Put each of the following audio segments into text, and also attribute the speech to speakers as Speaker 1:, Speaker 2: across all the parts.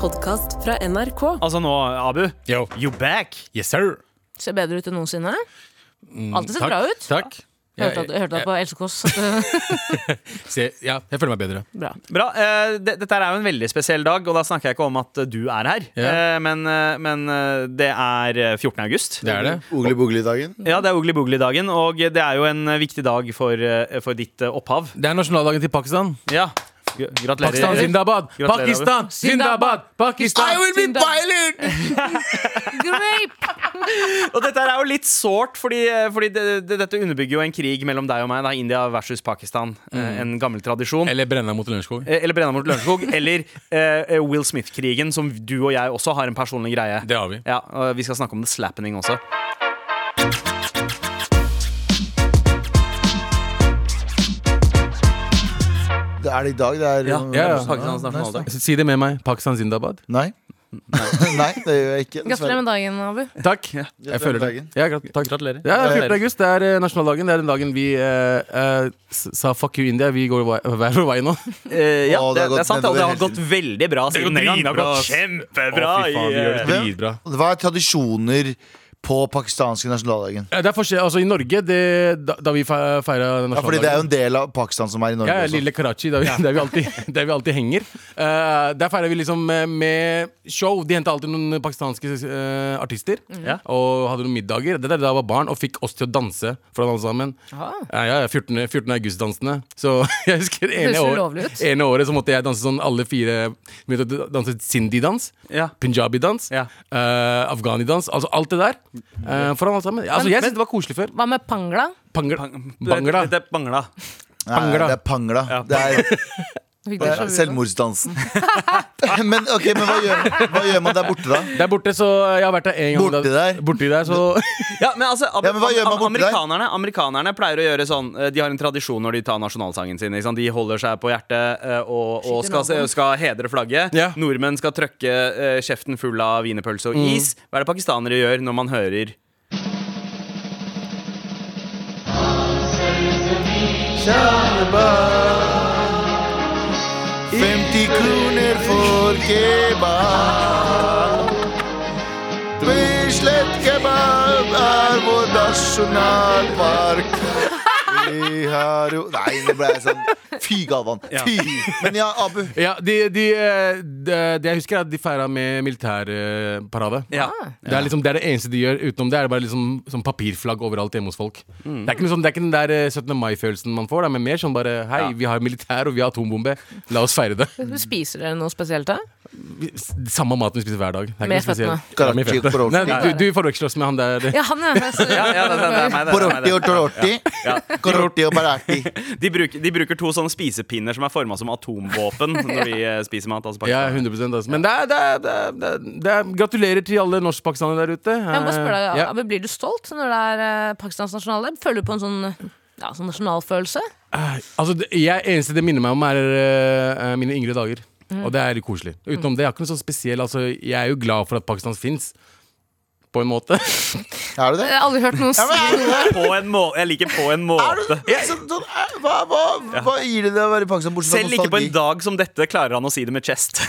Speaker 1: podkast fra NRK.
Speaker 2: Altså nå, Abu,
Speaker 3: Yo.
Speaker 2: you back!
Speaker 3: Yes, sir. Mm,
Speaker 4: Ser bedre ut enn noensinne. Alltid sett bra ut.
Speaker 3: Takk.
Speaker 4: Jeg hørte at, jeg hørte at på Else Kåss. at,
Speaker 3: Se, ja, jeg føler meg bedre.
Speaker 4: eh, Bra.
Speaker 2: Bra. eh, det- Dette er jo en veldig spesiell dag, og da snakker jeg ikke om at du er her.
Speaker 3: Ja.
Speaker 2: Eh, Men, eh, men eh, det er eh, 14. august.
Speaker 3: Det er det.
Speaker 4: Mm.
Speaker 5: Ogli-bogli-dagen.
Speaker 2: Ja, det er Oogly Boogly-dagen, og det er jo en eh, viktig dag for, eh, for ditt eh, opphav.
Speaker 3: Det er nasjonaldagen til Pakistan.
Speaker 2: Ja. Gr- Gratulerer.
Speaker 3: Pakistan, Zindabad!
Speaker 2: Gratulerer, Abu.
Speaker 3: Pakistan, Zindabad! Pakistan!
Speaker 4: I will be Zindabad.
Speaker 3: violent!
Speaker 4: Grape!
Speaker 2: Og dette her er jo litt sårt, fordi, eh, fordi det, det, dette underbygger jo en krig mellom deg og meg. Da, India versus Pakistan. Eh,
Speaker 3: Mm.
Speaker 2: En gammel tradisjon.
Speaker 3: Eller brenna mot Lørenskog.
Speaker 2: Eh, Eller Brenna mot Lørenskog. eller eh, Will Smith-krigen, som du og jeg også har en personlig greie.
Speaker 3: Det har vi.
Speaker 2: Ja, og Vi skal snakke om The Slappening også.
Speaker 5: Det er det i dag. Det er
Speaker 2: Ja,
Speaker 3: ja, ja.
Speaker 2: Pakistans nasjonaldag.
Speaker 3: Si det med meg. Pakistan, Zindabad.
Speaker 5: Nei. Nei, det gjør jeg ikke.
Speaker 4: Gratulerer med dagen, Abu.
Speaker 3: Takk.
Speaker 5: Gratulerer
Speaker 3: Jeg føler det.
Speaker 5: med
Speaker 3: Ja, grat takk.
Speaker 2: Gratulerer.
Speaker 3: Ja, det er 14. august det er eh, nasjonaldagen. Det er den dagen vi eh, eh, s- sa fuck you, India. Vi går hver- hver vår vei nå.
Speaker 2: Eh, ja, det,
Speaker 5: Å, det har
Speaker 2: det er
Speaker 5: gått
Speaker 2: sant. Og det
Speaker 5: nedover
Speaker 2: har
Speaker 5: hele
Speaker 2: gått veldig bra siden den gang. Det har gått kjempebra.
Speaker 3: Å, fy faen, vi
Speaker 2: i,
Speaker 3: gjør
Speaker 2: eh,
Speaker 3: det
Speaker 5: Hvem-
Speaker 3: dritbra.
Speaker 5: Hva er tradisjoner på pakistanske nasjonaldagen?
Speaker 3: Eh, Det er forskjell, altså I Norge, det, da, da vi fe- feira
Speaker 5: Ja, fordi
Speaker 3: nasjonaldagen
Speaker 5: det er jo en del av Pakistan som er i Norge.
Speaker 3: ja, ja,
Speaker 5: også.
Speaker 3: lille Karachi, der vi, der vi, alltid, der vi alltid henger. Eh, der feirer vi liksom eh, med show. De henta alltid noen pakistanske eh, artister
Speaker 2: Ja.
Speaker 3: og hadde noen middager. Det der da jeg var barn og fikk oss til å danse foran alle sammen.
Speaker 4: Ah.
Speaker 3: Ja, ja, ja, 14. 14. august-dansene. Så jeg husker det ene,
Speaker 4: Høres
Speaker 3: år,
Speaker 4: ulovlig ut.
Speaker 3: ene året så måtte jeg danse sånn alle fire begynte å danse Sindhi-dans.
Speaker 2: Ja.
Speaker 3: Punjabi-dans.
Speaker 2: Ja.
Speaker 3: eh, Afghani-dans. Altså alt det der. eh, foran alle sammen. Ja, altså, jeg syntes det var koselig før.
Speaker 4: Hva med pangla?
Speaker 3: Panger,
Speaker 2: Bangla.
Speaker 3: bangla.
Speaker 2: Det, det, er Bangla.
Speaker 5: Nei,
Speaker 3: Pangla.
Speaker 5: det er pangla. Det er,
Speaker 4: Fikk
Speaker 5: det
Speaker 4: dere
Speaker 5: er
Speaker 4: sjalu, da?
Speaker 5: selvmordsdansen. Men ok, men hva gjør, hva gjør man der borte, da?
Speaker 3: Der borte, så Jeg har vært der en gang.
Speaker 5: Borti
Speaker 3: da-
Speaker 5: der?
Speaker 3: Borti der, så
Speaker 2: Ja, men altså, am
Speaker 5: Ja, men hva gjør man
Speaker 2: am-
Speaker 5: borte der?
Speaker 2: amerikanerne, amerikanerne pleier å gjøre sånn eh, De har en tradisjon når de tar nasjonalsangen sin. Ikke sant? De holder seg på hjertet eh, og, og
Speaker 4: Skyter
Speaker 2: skal, se-
Speaker 4: naboen.
Speaker 2: skal hedre flagget.
Speaker 3: Ja.
Speaker 2: Nordmenn skal trøkke eh, kjeften full av wienerpølse
Speaker 5: Mm.
Speaker 2: og is. Hva er det pakistanere gjør når man hører
Speaker 5: for kebab. Bislett kebab er vår nasjonalpark. Vi har jo Nei, det ble sånn Fy, Galvan. Fy. Men ja, Abu.
Speaker 3: Ja, de, de, eh, de, Det jeg husker, er at de feira med militærparade.
Speaker 2: Ja.
Speaker 3: Det er liksom det er det eneste de gjør. Utenom det er det bare liksom sånn papirflagg overalt hjemme hos folk.
Speaker 4: Mm.
Speaker 3: Det, er ikke noe sånn, det er ikke den der eh, 17. mai-følelsen man får, da, men mer sånn bare Hei, vi har militær, og vi har atombombe. La oss feire det.
Speaker 4: Spiser dere noe spesielt, da?
Speaker 3: Vi- s- Samme maten vi spiser hver dag. Det er
Speaker 4: Med
Speaker 3: ikke noe spesielt.
Speaker 4: føttene.
Speaker 3: Ja, med
Speaker 5: Karachi og
Speaker 3: føttene.
Speaker 5: korotti.
Speaker 3: Nei, du, du forveksler oss med han der.
Speaker 4: Ja, han er
Speaker 2: Ja, ja, det, det, det er meg, det, det er meg,
Speaker 5: Porotti og
Speaker 2: det.
Speaker 5: torotti. Korotti og parati.
Speaker 2: De, bruker, de bruker to sånne spisepinner som er forma som atomvåpen når vi eh, spiser mat. Altså
Speaker 3: Ja,
Speaker 2: pakistanere.
Speaker 3: 100 altså. Men det er, det er, det er, det er, det er Gratulerer til alle norskpakistanere der ute.
Speaker 4: Jeg må bare spørre deg,
Speaker 3: Ja.
Speaker 4: Abu, Blir du stolt når det er eh, Pakistans nasjonaldag? Føler du på en sånn, ja, sånn nasjonalfølelse?
Speaker 3: Altså, det jeg, eneste det minner meg om, er eh, mine yngre dager.
Speaker 5: Mm.
Speaker 3: Og det er koselig. Utenom det, jeg har ikke noe sånn spesiell altså, Jeg er jo glad for at Pakistan fins, på en måte.
Speaker 5: Er du det?
Speaker 4: Jeg har aldri hørt noen si
Speaker 2: På en må jeg liker på en
Speaker 5: Er du
Speaker 2: måte.
Speaker 5: sånn, sånn, er- hva, hva, hva gir det deg å være i Pakistan? bortsett fra
Speaker 2: Selv ikke på en
Speaker 5: nostalgi?
Speaker 2: dag som dette klarer han å si det med chest.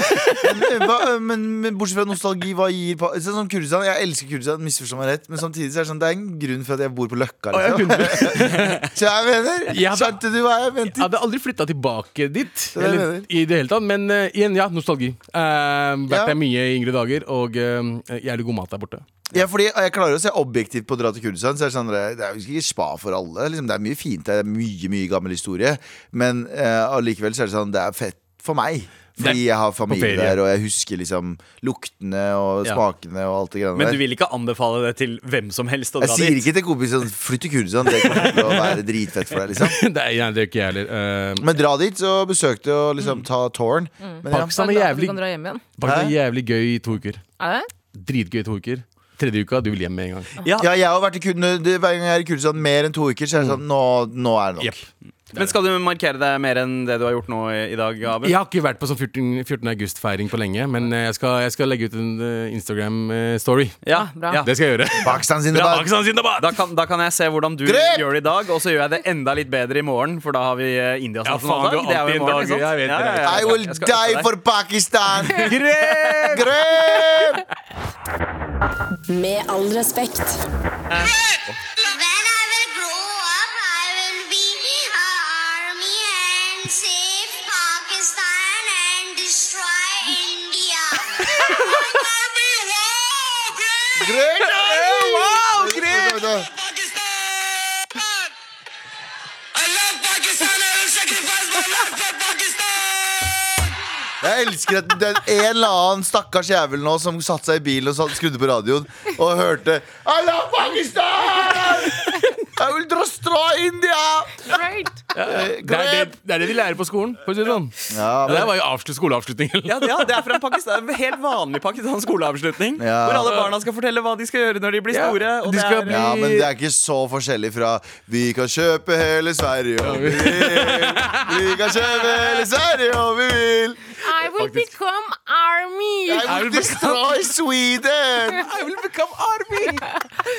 Speaker 5: hva, eh, men, men bortsett fra nostalgi, hva gir pa så, sånn Kurdistan, Jeg elsker Kurdistan, misforstå meg rett, men samtidig så er det sånn Det er en grunn for at jeg bor på Løkka. Liksom. Så jeg mener,
Speaker 3: Ja, da-
Speaker 5: Skjønte du hva jeg
Speaker 3: Jeg
Speaker 5: mente?
Speaker 3: hadde aldri flytta tilbake dit.
Speaker 5: er det jeg
Speaker 3: Eller,
Speaker 5: mener.
Speaker 3: i det hele tatt Men eh, igjen, ja, nostalgi. Eh,
Speaker 5: Ja.
Speaker 3: vært der mye i yngre dager, og eh, jævlig god mat der borte.
Speaker 5: Ja, fordi Jeg klarer å se objektivt på å dra til Kurdistan. Så er det, sånn, det er jo ikke spa for alle. Liksom, det er mye fint der, det er mye mye gammel historie. Men eh, allikevel så er det sånn Det er fett for meg.
Speaker 3: Det
Speaker 5: Fordi jeg har familie
Speaker 3: ferie.
Speaker 5: der, og jeg husker liksom luktene og
Speaker 3: Ja.
Speaker 5: smakene og alt det greiene
Speaker 2: Men du
Speaker 5: der.
Speaker 2: vil ikke anbefale det til hvem som helst å
Speaker 5: Jeg
Speaker 2: dra
Speaker 5: sier
Speaker 2: dit?
Speaker 5: ikke til kompisen sånn, flytt til Kurdistan, det kommer til å være dritfett for deg. liksom
Speaker 3: det, er, ja, det er ikke jeg heller. Eh,
Speaker 5: Men dra dit og besøk det og
Speaker 3: Mm.
Speaker 5: liksom ta tårn. Men ja,
Speaker 3: Pakistan er
Speaker 4: Du
Speaker 3: jævlig,
Speaker 4: kan dra hjem igjen.
Speaker 3: Pakistan er jævlig gøy i to uker.
Speaker 4: Er det?
Speaker 3: Dritgøy i to uker. Tredje uka, du vil hjem med en gang.
Speaker 2: Ja,
Speaker 3: Mm.
Speaker 5: ja, jeg har vært i Kurdistan Hver gang jeg er i Kurdistan mer enn to uker, så er det sånn Nå, nå er det nok.
Speaker 3: Jepp.
Speaker 2: Men skal du markere deg mer enn det du har gjort nå i, i dag, Abel?
Speaker 3: Jeg har ikke vært på sånn 14, 14. august-feiring på lenge, men eh, jeg skal, jeg skal legge ut en eh, Instagram-story.
Speaker 4: Ah,
Speaker 2: Ja,
Speaker 4: bra.
Speaker 2: ja.
Speaker 3: Det skal jeg gjøre.
Speaker 5: Pakistan sine
Speaker 3: Bra,
Speaker 5: bak.
Speaker 3: Pakistan Zindabad!
Speaker 2: Da kan, da kan jeg se hvordan du
Speaker 5: Grep!
Speaker 2: gjør det i dag, og så gjør jeg det enda litt bedre i morgen. For da har vi eh, Indias
Speaker 3: Ja, faen,
Speaker 2: nasjonaldag.
Speaker 3: du har
Speaker 2: Det er jo i
Speaker 3: alltid en
Speaker 2: morgen,
Speaker 3: dag,
Speaker 2: ikke sant?
Speaker 3: jeg vet det, jeg
Speaker 5: I will die for Pakistan!
Speaker 2: Grep!
Speaker 5: Grep!
Speaker 1: Med all respekt.
Speaker 6: When I will grow up, I will be a army and save Pakistan and destroy India.
Speaker 5: Grep!
Speaker 2: Wow, grep!
Speaker 5: Vent, vent, vent.
Speaker 6: Pakistan! I love Pakistan. I will sacrifice my life for Pakistan.
Speaker 5: Jeg elsker at det er en eller annen stakkars jævel nå som satte seg i bilen og satt- skrudde på radioen og hørte I love Pakistan! I will destroy India!
Speaker 4: Right.
Speaker 3: eh, Det er det, det er det de lærer på skolen. For å si det sånn.
Speaker 5: Ja,
Speaker 3: Det
Speaker 5: men,
Speaker 3: der var jo avslut, skoleavslutning.
Speaker 2: Ja, det- ja, det er fra en pakistan, en helt vanlig pakistansk skoleavslutning.
Speaker 5: Ja.
Speaker 2: Hvor alle barna skal fortelle hva de skal gjøre når de blir
Speaker 3: Ja,
Speaker 2: store. Og
Speaker 3: de
Speaker 2: det
Speaker 3: skal
Speaker 2: er,
Speaker 3: bli-
Speaker 5: ja, men det er ikke så forskjellig fra Vi kan kjøpe hele Sverige om vi vil. Vi kan kjøpe hele Sverige om vi vil.
Speaker 4: I will become army.
Speaker 5: I will destroy Sweden!
Speaker 3: I will become army!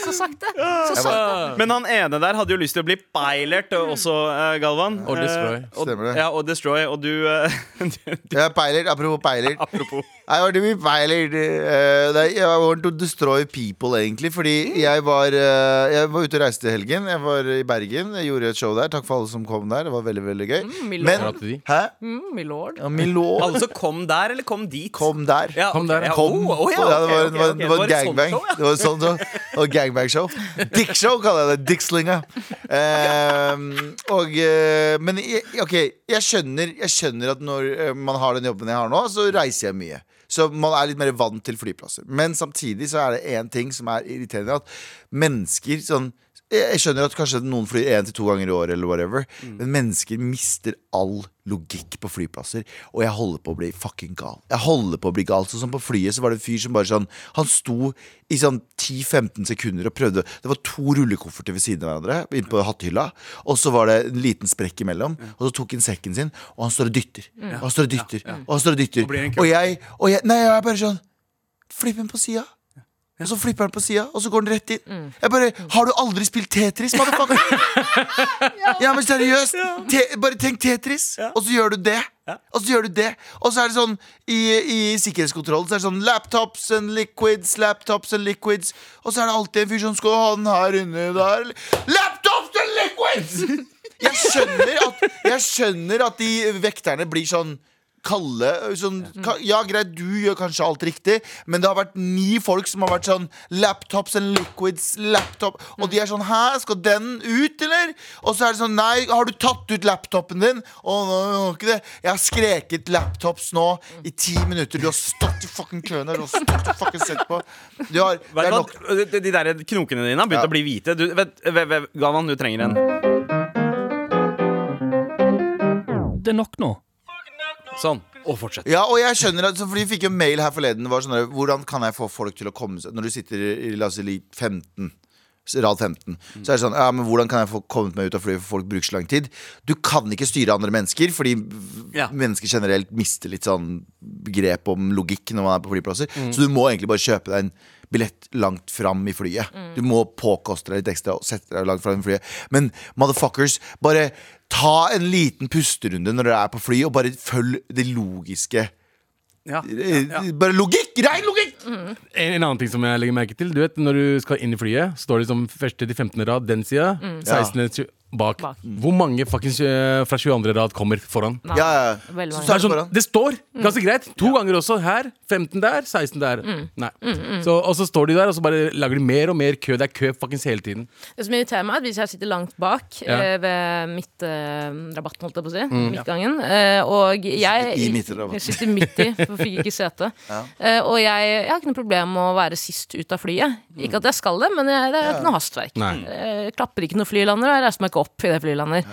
Speaker 4: Så sakte. Så
Speaker 5: Jeg
Speaker 4: sakte.
Speaker 5: bare,
Speaker 2: Men han ene der hadde jo lyst til å bli pilot og- også, eh, Galvan.
Speaker 3: Og destroy.
Speaker 2: og,
Speaker 5: Stemmer det.
Speaker 2: Ja, og Destroy. Og du eh,
Speaker 5: jeg er pilot, apropos pilot.
Speaker 2: Apropos.
Speaker 5: I want to be pilot. eh, nei, I want to destroy people, egentlig. Fordi
Speaker 2: Mm.
Speaker 5: jeg, var, eh, jeg var ute og reiste i helgen. Jeg var i Bergen. Jeg gjorde et show der. Takk for alle som kom der. Det var veldig, veldig gøy.
Speaker 2: Mm,
Speaker 4: Milord.
Speaker 5: Men Hæ?
Speaker 4: Mm, my lord.
Speaker 5: Ja, Milord
Speaker 2: Alle som kom der, eller kom dit?
Speaker 5: kom der.
Speaker 2: Ja,
Speaker 3: Kom
Speaker 2: ok,
Speaker 3: der.
Speaker 2: ja,
Speaker 5: Kom.
Speaker 2: oh, oh, ja,
Speaker 5: Ja, det
Speaker 2: ok,
Speaker 5: var,
Speaker 2: ok,
Speaker 5: det var,
Speaker 2: ok.
Speaker 5: det var
Speaker 2: et sånt
Speaker 5: gangbang.
Speaker 2: show, ja.
Speaker 5: Det var et sånt show. Og gangbang-show. Dick-show kaller jeg det. Dickslinga. Ehm, og eh, Men jeg, OK, jeg skjønner, jeg skjønner at når eh, man har den jobben jeg har nå, så reiser jeg mye. Så man er litt mer vant til flyplasser. Men samtidig så er det én ting som er irriterende, at mennesker sånn jeg jeg skjønner at kanskje noen flyr én til to ganger i året, eller whatever,
Speaker 2: Mm.
Speaker 5: men mennesker mister all logikk på flyplasser. Og jeg holder på å bli fucking gal. Jeg holder på å bli gal. Sånn som på flyet så var det en fyr som bare sånn Han sto i sånn 10-15 sekunder og prøvde Det var to rullekofferter ved siden av hverandre inne på hattehylla, og så var det en liten sprekk imellom, og så tok han sekken sin, og han står og dytter, og han står og dytter, og han står og dytter.
Speaker 2: blir en kø.
Speaker 5: Og jeg, og jeg Nei, jeg er bare sånn Flipp den på sida. Og så flipper han på sida, og så går han rett inn. Jeg bare, Har du aldri spilt Tetris, motherfucker? ja, men seriøst. Te, bare tenk Tetris, og så gjør du det. Og så gjør du det. Og så er det sånn i, i sikkerhetskontrollen så er det sånn laptops and liquids, laptops and liquids. Og så er det alltid en fyr som skal ha den her inne der. Laptops and liquids! Jeg skjønner at, jeg skjønner at de vekterne blir sånn Kalle sånn, ka, Ja, greit, du gjør kanskje alt riktig, men det har vært ni folk som har vært sånn Laptops and liquids, laptop Og de er sånn Hæ, skal den ut, eller? Og så er det sånn Nei, har du tatt ut laptopen din? Å, nå, jeg har ikke det. Jeg har skreket laptops nå i ti minutter. Du har stått i fucking køen her, du har stått og fucking sett på. Du har Det
Speaker 2: Vet
Speaker 5: er
Speaker 2: du
Speaker 5: nok.
Speaker 2: hva? De, de der knokene dine har begynt
Speaker 5: Ja.
Speaker 2: å bli hvite. Du, vet, vet, vet, Galvan, du trenger en.
Speaker 7: Det er nok nå.
Speaker 2: Sånn. Og fortsett.
Speaker 5: Ja, og jeg skjønner at, så- fordi Vi fikk jo mail her forleden. det Var sånn, der, hvordan kan jeg få folk til å komme seg Når du sitter i la oss si, lit 15 Rad 15 Så er det sånn, ja, men hvordan kan jeg få kommet meg ut av flyet For folk bruker så lang tid Du kan ikke styre andre mennesker Fordi
Speaker 2: Ja.
Speaker 5: mennesker generelt mister litt sånn Grep om logikk når man er på flyplasser Så du må egentlig bare kjøpe deg en billett langt fram i flyet Du må påkoste deg litt ekstra Og sette deg langt fram i flyet Men motherfuckers, bare ta en liten pusterunde Når dere er på fly Og bare følg det logiske
Speaker 2: Ja.
Speaker 5: Bare logikk, rein logikk
Speaker 3: En, en annen ting som jeg legger merke til. Du vet, Når du skal inn i flyet, står det liksom første til 15. rad den sida. 16. til 20 Bak.
Speaker 4: Bak.
Speaker 3: Hvor mange fuckings eh, fra 22. rad kommer foran?
Speaker 4: Nei,
Speaker 5: Ja, ja, ja.
Speaker 4: Veldig
Speaker 5: Så
Speaker 4: mange.
Speaker 3: Det,
Speaker 5: tar
Speaker 3: er
Speaker 5: du
Speaker 3: sånn,
Speaker 5: foran
Speaker 3: det står
Speaker 4: Mm.
Speaker 3: ganske greit. To ganger også. Her. 15 der, 16 der.
Speaker 4: Mm.
Speaker 3: Nei. Så, og så står de der, og så bare lager de mer og mer kø. Det er kø fuckings hele tiden.
Speaker 4: Det som irriterer meg, er at hvis jeg sitter langt bak
Speaker 3: Ja. Mm.
Speaker 4: eh, ved midtrabatten, holdt jeg på å si, midtgangen, eh, og jeg
Speaker 5: i midtrabatten.
Speaker 4: Jeg sitter midt i, for jeg fikk ikke sete. Eh, og jeg, jeg har ikke noe problem med å være sist ut av flyet.
Speaker 5: Mm.
Speaker 4: Ikke at jeg skal det, men jeg, det er ikke noe hastverk.
Speaker 3: Nei.
Speaker 4: Eh, klapper ikke når flyet lander, og jeg reiser meg ikke opp i det flyet lander.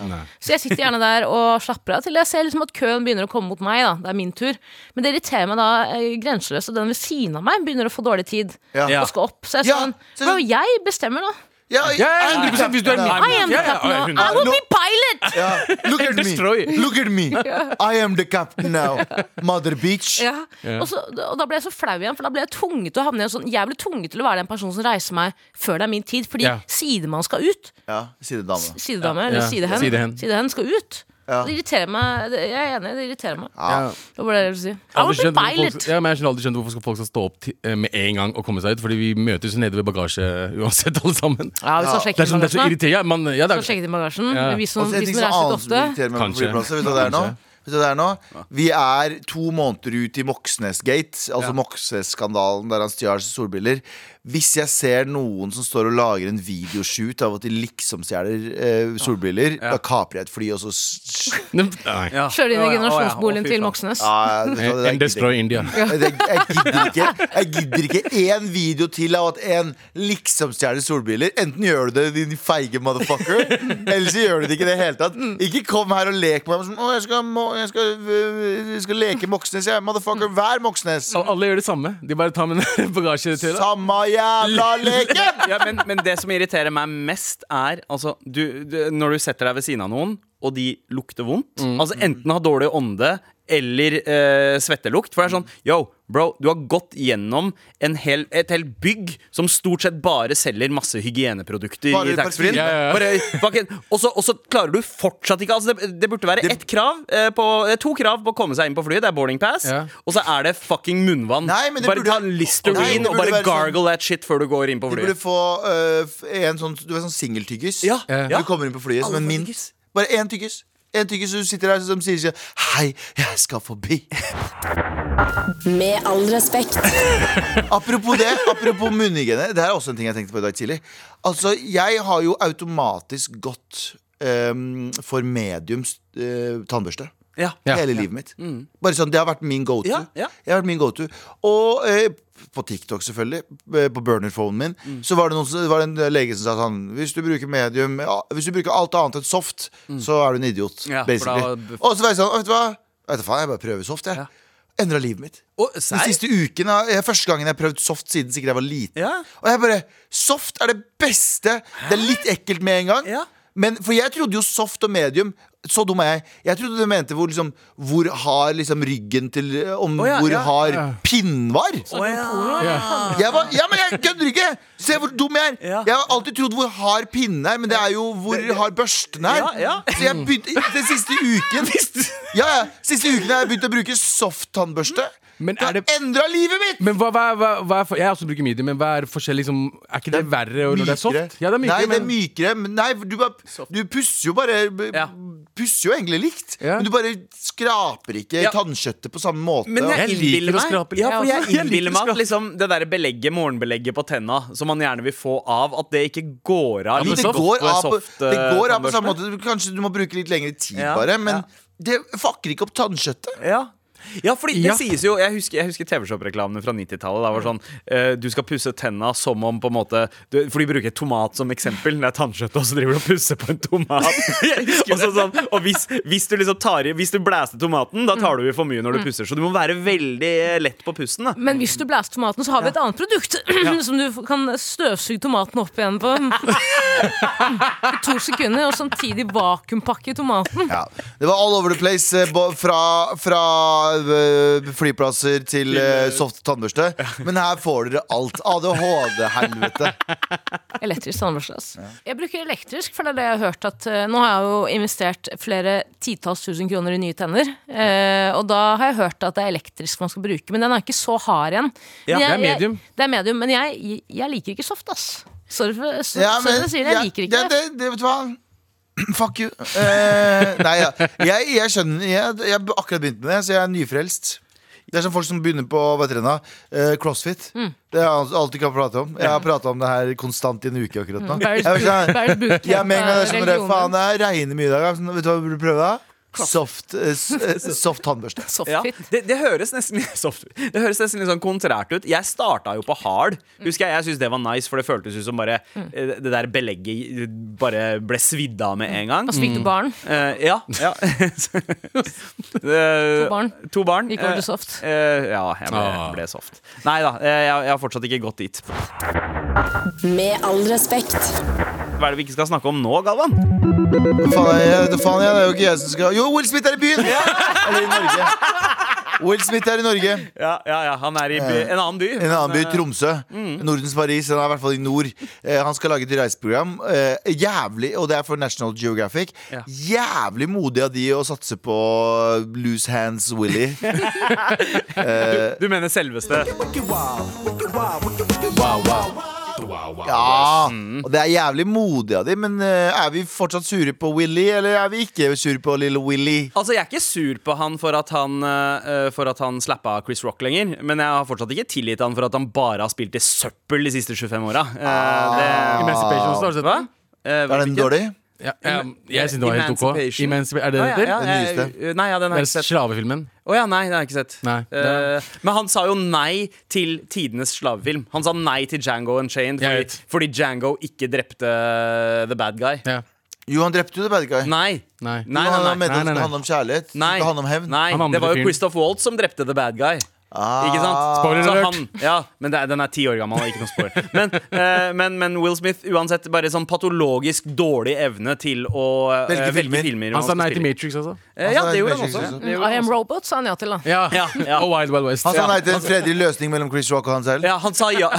Speaker 4: Så jeg sitter gjerne der og slapper av til jeg ser liksom at køen begynner å komme mot meg. da, Det er min tur. Men det irriterer meg da eh, grenseløst, og den ved siden av meg begynner å få dårlig tid.
Speaker 5: Ja.
Speaker 4: Og skal opp. Så jeg er
Speaker 5: Ja,
Speaker 4: sånn,
Speaker 5: så-
Speaker 4: bro, jeg bestemmer nå.
Speaker 5: Ja,
Speaker 3: Ja, ja, 100 Ah, hvis du er
Speaker 5: Ja,
Speaker 3: min.
Speaker 4: I am the
Speaker 3: Ja, ja,
Speaker 4: captain.
Speaker 3: hun-
Speaker 4: I will be pilot!
Speaker 5: ja. Look at me.
Speaker 3: destroy.
Speaker 5: Look at me. I am the captain now. Mother bitch.
Speaker 4: Ja. Og, så, og da ble jeg så flau igjen, for da ble jeg tvunget til å havne i en sånn Jeg ble tvunget til å være den personen som reiser meg før det er min tid, fordi
Speaker 3: Ja.
Speaker 4: sidemann skal ut.
Speaker 5: Ja, sidedame.
Speaker 4: Sidedame, eller
Speaker 3: Ja.
Speaker 4: sidehen.
Speaker 3: Sidehen.
Speaker 4: skal ut.
Speaker 5: Ja.
Speaker 4: Det irriterer meg. det- Jeg er enig, det irriterer meg.
Speaker 5: Ja.
Speaker 4: Det var det jeg ville si. I
Speaker 3: Aldri
Speaker 4: will be
Speaker 3: skjønt hvorfor folk,
Speaker 4: pilot!
Speaker 3: ja, men jeg skjønner aldri skjønt hvorfor skal folk skal stå opp ti- eh, med en gang og komme seg ut. Fordi vi møtes jo nede ved bagasje uansett, alle sammen. Det
Speaker 4: Ja, vi skal
Speaker 3: er,
Speaker 4: sjekke
Speaker 3: sånn,
Speaker 4: inn
Speaker 3: det er så
Speaker 4: bagasjen. da.
Speaker 3: irriterende. Ja, man, ja,
Speaker 4: Vi
Speaker 3: det
Speaker 4: skal
Speaker 3: er,
Speaker 4: sjekke inn bagasjen.
Speaker 3: Ja.
Speaker 4: Vi som,
Speaker 5: Og så en
Speaker 4: vi
Speaker 5: ting
Speaker 4: som reiser litt
Speaker 5: som annet som
Speaker 4: ofte.
Speaker 5: irriterer meg på
Speaker 3: Kanskje.
Speaker 5: flyplasser, vet du hva det er nå? Vet du hva det er nå? Vi er to måneder ut i Moxnes Gate, altså Moxnes-skandalen der han stjal solbriller. Hvis jeg ser noen som står og lager en videoshoot av at de liksom stjeler eh, solbriller, da kaper jeg et fly, og så s- s-
Speaker 3: Nei.
Speaker 2: Ja.
Speaker 4: Kjører inn
Speaker 2: Å,
Speaker 4: i
Speaker 2: ja, å, ja, å,
Speaker 4: generasjonsboligen
Speaker 2: fy
Speaker 4: til
Speaker 2: faen.
Speaker 4: Moxnes.
Speaker 5: ja, Ah, vet du hva, det
Speaker 3: And
Speaker 5: der gidder
Speaker 3: destroy
Speaker 5: jeg ikke.
Speaker 3: India.
Speaker 5: Jeg, jeg, gidder ikke, jeg gidder ikke én video til av at en liksom stjeler solbriller. Enten gjør du det, din feige motherfucker, eller så gjør du det ikke i det hele tatt. Ikke kom her og lek med meg som Å, jeg skal, må, jeg skal, øh, jeg skal leke Moxnes, jeg. Motherfucker, vær Moxnes.
Speaker 3: Al- Alle gjør det samme. De bare tar med en bagasje til.
Speaker 5: Samme jævla leken!
Speaker 2: ja, men, men det som irriterer meg mest, er altså, du, du, når du setter deg ved siden av noen, og de lukter vondt.
Speaker 5: Mm.
Speaker 2: Altså Enten har dårlig ånde eller eh, svettelukt. For det er sånn Yo, bro, du har gått gjennom en hel, et helt bygg som stort sett bare selger masse hygieneprodukter
Speaker 5: Bare
Speaker 2: i taxfree.
Speaker 5: parfyme.
Speaker 3: Ja, ja, ja.
Speaker 2: Bare fucking- Og så- og så klarer du fortsatt ikke altså det, det burde være ett krav eh, på, eh, to krav på å komme seg inn på flyet. Det er boarding pass,
Speaker 3: Ja.
Speaker 2: og så er det fucking munnvann.
Speaker 5: Nei, men det
Speaker 2: bare
Speaker 5: burde-
Speaker 2: ta
Speaker 5: Nei, det
Speaker 2: Listerine
Speaker 5: burde
Speaker 2: og bare
Speaker 5: være sånn-
Speaker 2: gargle that shit før du går inn på
Speaker 5: Du
Speaker 2: flyet.
Speaker 5: burde få øh, f- en sånn Du er sånn singeltyggis.
Speaker 2: Ja,
Speaker 5: Når
Speaker 2: ja.
Speaker 5: Du kommer inn på flyet som
Speaker 2: Alle
Speaker 5: en
Speaker 2: får
Speaker 5: mint.
Speaker 2: tyggis.
Speaker 5: Bare én tyggis. En tyggis og du sitter der som sier sånn, Hei, jeg skal forbi.
Speaker 1: Med all respekt.
Speaker 5: Apropos det, apropos munnhygiene. Det er også en ting jeg tenkte på i dag tidlig. Altså, jeg har jo automatisk gått ehm, for mediums eh, tannbørste.
Speaker 2: Ja. Mm.
Speaker 3: Ja.
Speaker 5: Hele livet mitt. Bare sånn, Det har vært min go to.
Speaker 2: Ja, ja.
Speaker 5: Jeg har vært min go to Og eh, på TikTok, selvfølgelig, eh, på burnerphonen min,
Speaker 2: Mm.
Speaker 5: så var det, noen, som- det var en lege som sa sånn Hvis du bruker medium ja, Hvis du bruker alt annet enn soft, så er du en idiot.
Speaker 2: Mm. Ja, for
Speaker 5: basically.
Speaker 2: da-
Speaker 5: Og så var jeg sånn, vet du hva? Vet du faen, Jeg bare prøver soft, jeg.
Speaker 2: Ja.
Speaker 5: Endra livet mitt.
Speaker 2: Og,
Speaker 5: Den siste uken har- jeg, Første gangen jeg har prøvd soft siden sikkert jeg var liten.
Speaker 2: Ja.
Speaker 5: Og jeg bare Soft er det beste! Det er litt ekkelt med en gang.
Speaker 2: Ja.
Speaker 5: Men, for jeg trodde jo soft og medium Så dum er jeg. Jeg trodde du mente hvor, liksom, hvor hard liksom, ryggen til Om
Speaker 2: Å, ja,
Speaker 5: hvor
Speaker 2: ja.
Speaker 5: hard pinnen var.
Speaker 3: Ja.
Speaker 5: Jeg var, ja, men jeg kødder ikke! Se hvor dum jeg er!
Speaker 2: Ja.
Speaker 5: Jeg har alltid trodd hvor hard pinnen er, men det er jo hvor hard børsten er.
Speaker 2: Ja, ja.
Speaker 5: Så jeg begynte den siste uken Ja, ja, Siste uken har jeg begynt å bruke soft-tannbørste.
Speaker 3: Men
Speaker 5: Det
Speaker 3: er
Speaker 5: har
Speaker 3: det-
Speaker 5: endra livet mitt!
Speaker 3: Men hva, hva, hva, hva er for, Jeg er også bruker medium, men hva er forskjell liksom Er ikke det, verre når det er soft? Ja, det er mykere,
Speaker 5: Nei, det er
Speaker 3: men-
Speaker 5: mykere. men- Nei, for du, bare, du pusser jo bare b-
Speaker 2: Ja.
Speaker 5: Pusser jo egentlig likt,
Speaker 3: Ja.
Speaker 5: men du bare skraper ikke
Speaker 2: Ja.
Speaker 5: tannkjøttet på samme måte.
Speaker 2: Men jeg,
Speaker 3: Jeg liker
Speaker 2: innbiller
Speaker 3: å
Speaker 2: meg,
Speaker 3: skrape litt.
Speaker 2: ja, for
Speaker 3: Jeg
Speaker 2: jeg
Speaker 3: også. Jeg liker
Speaker 2: innbiller
Speaker 3: å
Speaker 2: meg at
Speaker 3: skrape.
Speaker 2: liksom, det der belegget, morgenbelegget på tenna, som man gjerne vil få av, at det ikke går av.
Speaker 3: Ja, men
Speaker 5: det,
Speaker 2: liksom.
Speaker 5: går av, på-
Speaker 2: Soft,
Speaker 5: det
Speaker 2: eh,
Speaker 5: går av på
Speaker 2: tannbørste.
Speaker 5: samme måte. Kanskje du må bruke litt lengre tid,
Speaker 2: Ja,
Speaker 5: bare. Men
Speaker 2: ja.
Speaker 5: det fucker ikke opp tannkjøttet.
Speaker 2: Ja. Ja, fordi det
Speaker 3: Ja.
Speaker 2: sies jo Jeg husker, jeg husker TV-shop-reklamene fra 90-tallet. Da var det sånn eh, Du skal pusse tenna som om på en måte du, For de bruker tomat som eksempel. Det er tannkjøtt, og så driver du og pusser på en tomat. og så, sånn, og hvis, hvis du liksom tar i Hvis du blæster tomaten, da tar du i for mye
Speaker 3: Mm.
Speaker 2: når du pusser. Så du må være veldig lett på pusten. da
Speaker 4: Men hvis du blæser tomaten, så har vi et annet produkt som du kan støvsuge tomaten opp igjen på. I to sekunder, og samtidig vakuumpakke tomaten.
Speaker 5: Ja. Det var all over the place. eh, bo- Fra, fra eh, flyplasser til eh, soft tannbørste. Men her får dere alt. ADHD-helvete.
Speaker 4: Elektrisk tannbørste. ass. Jeg bruker elektrisk, for det er det jeg har hørt at eh, Nå har jeg jo investert flere titalls tusen kroner i nye tenner. eh, og da har jeg hørt at det er elektrisk man skal bruke, men den er ikke så hard igjen.
Speaker 2: Ja,
Speaker 4: Men jeg-
Speaker 3: det er medium.
Speaker 4: Jeg, det er medium, men jeg, jeg liker ikke soft, ass. Sorry for så,
Speaker 5: Ja,
Speaker 4: sorry
Speaker 5: men-
Speaker 4: for å si det, jeg
Speaker 5: ja,
Speaker 4: liker ikke det.
Speaker 5: det, det. Vet du hva? Fuck you. Eh, nei, ja. jeg, jeg skjønner Jeg jeg har akkurat begynt med det, så jeg er nyfrelst. Det er som folk som begynner på hva heter det nå? Eh, crossfit.
Speaker 4: Mm.
Speaker 5: Det er alt alt de kan prate om. Jeg har prata om det her konstant i en uke akkurat nå. Jeg,
Speaker 4: Bears
Speaker 5: var sånn,
Speaker 4: boot- Bears bootcamp
Speaker 5: jeg med en gang det er
Speaker 4: er
Speaker 5: sånn,
Speaker 4: religionen.
Speaker 5: faen, det regner mye i dag. jeg er sånn, Vet du altså. hva vi burde prøve, da? soft, eh, s- eh, soft tannbørste.
Speaker 2: Ja,
Speaker 4: Softfit.
Speaker 2: det, det, høres nesten, litt- soft- det høres nesten litt sånn kontrært ut. Jeg starta jo på hard. Husker Jeg jeg syntes det var nice, for det føltes ut som bare eh, det der belegget bare ble svidd av med en gang.
Speaker 4: Og så fikk du barn.
Speaker 2: Eh, ja. ja. to
Speaker 4: barn.
Speaker 2: To barn.
Speaker 4: Gikk over til
Speaker 2: Eh,
Speaker 4: soft.
Speaker 2: eh, ja, jeg ble,
Speaker 3: Ah.
Speaker 2: ble soft. Nei da, eh, jeg, jeg har fortsatt ikke gått dit.
Speaker 1: Med all respekt.
Speaker 2: Hva er det vi ikke skal snakke om nå, Galvan?
Speaker 5: Hva Faen er jeg, det faen er jeg, det er jo ikke jeg som skal Jo, Will Smith er i byen! Eller i Norge. Will Smith er i Norge.
Speaker 2: Ja, ja, ja Han er i by, en annen by.
Speaker 5: En annen by, Tromsø.
Speaker 2: mm.
Speaker 5: Nordens Paris. Han er i hvert fall i nord. Eh, han skal lage et reiseprogram. Eh, jævlig, og det er for National Geographic.
Speaker 2: Ja.
Speaker 5: Jævlig modig av de å satse på Loose Hands Willy.
Speaker 2: Du mener selveste
Speaker 5: Ja,
Speaker 2: Mm.
Speaker 5: og det er jævlig modig av de, men eh, er vi fortsatt sure på Willy, eller er vi ikke sure på lille Willy?
Speaker 2: Altså, Jeg er ikke sur på han for at han, eh, for at han slappa Chris Rock lenger, men jeg har fortsatt ikke tilgitt han for at han bare har spilt i søppel de siste 25 åra. Eh,
Speaker 3: Emancipation Star, sett den?
Speaker 5: Ah. Er den dårlig?
Speaker 3: Ah. Ja, ja, jeg syns det var helt ok.
Speaker 2: Emancipation.
Speaker 3: Emancip er det
Speaker 2: Ja,
Speaker 3: det
Speaker 2: ja,
Speaker 3: heter?
Speaker 2: ja,
Speaker 5: Den
Speaker 2: jeg- nei, ja, den har jeg
Speaker 3: Det er
Speaker 2: ikke sett.
Speaker 3: slavefilmen.
Speaker 2: Å ja, nei, den har jeg ikke sett.
Speaker 3: Nei, det-
Speaker 2: Eh, men han sa jo nei til tidenes slavefilm. Han sa nei til Django Unchained
Speaker 3: Jeg
Speaker 2: fordi,
Speaker 3: vet.
Speaker 2: fordi Django ikke drepte the bad guy.
Speaker 3: Ja.
Speaker 5: Jo, han drepte jo The Bad Guy.
Speaker 2: Nei. Nei,
Speaker 3: Nei.
Speaker 5: Jo,
Speaker 2: nei,
Speaker 5: han
Speaker 2: nei.
Speaker 5: er medlem,
Speaker 3: Nei, nei,
Speaker 5: Det
Speaker 3: nei.
Speaker 5: handler om kjærlighet.
Speaker 2: Nei,
Speaker 5: Det handler om hevn.
Speaker 2: nei,
Speaker 3: Han andre
Speaker 2: det var jo
Speaker 3: fyren.
Speaker 2: Christoph Waltz som drepte The Bad Guy.
Speaker 5: Ah.
Speaker 2: Ikke sant?
Speaker 3: Spoiler
Speaker 2: Så
Speaker 3: alert.
Speaker 2: han- ja, men det, er- den er ti år gammel. Ikke noe spoiler. Men, eh, men, men Will Smith, uansett, bare sånn patologisk dårlig evne til å eh,
Speaker 5: Velge filmer.
Speaker 2: filmer
Speaker 3: Han sa
Speaker 2: skal spille
Speaker 3: nei til
Speaker 2: i.
Speaker 3: Matrix, altså.
Speaker 2: Eh, Ja,
Speaker 5: Han sa
Speaker 2: det
Speaker 5: nei
Speaker 2: gjorde han
Speaker 5: til
Speaker 2: også.
Speaker 5: Matrix også.
Speaker 2: Det gjorde
Speaker 4: I
Speaker 2: han
Speaker 4: Am
Speaker 2: også.
Speaker 4: Robot sa han ja til, da.
Speaker 3: Ja.
Speaker 2: Ja, ja.
Speaker 3: Og Wild Wild West.
Speaker 5: Han sa
Speaker 3: Ja.
Speaker 5: nei til en fredelig løsning mellom Chris Rock og han selv.
Speaker 2: Ja, han sa ja.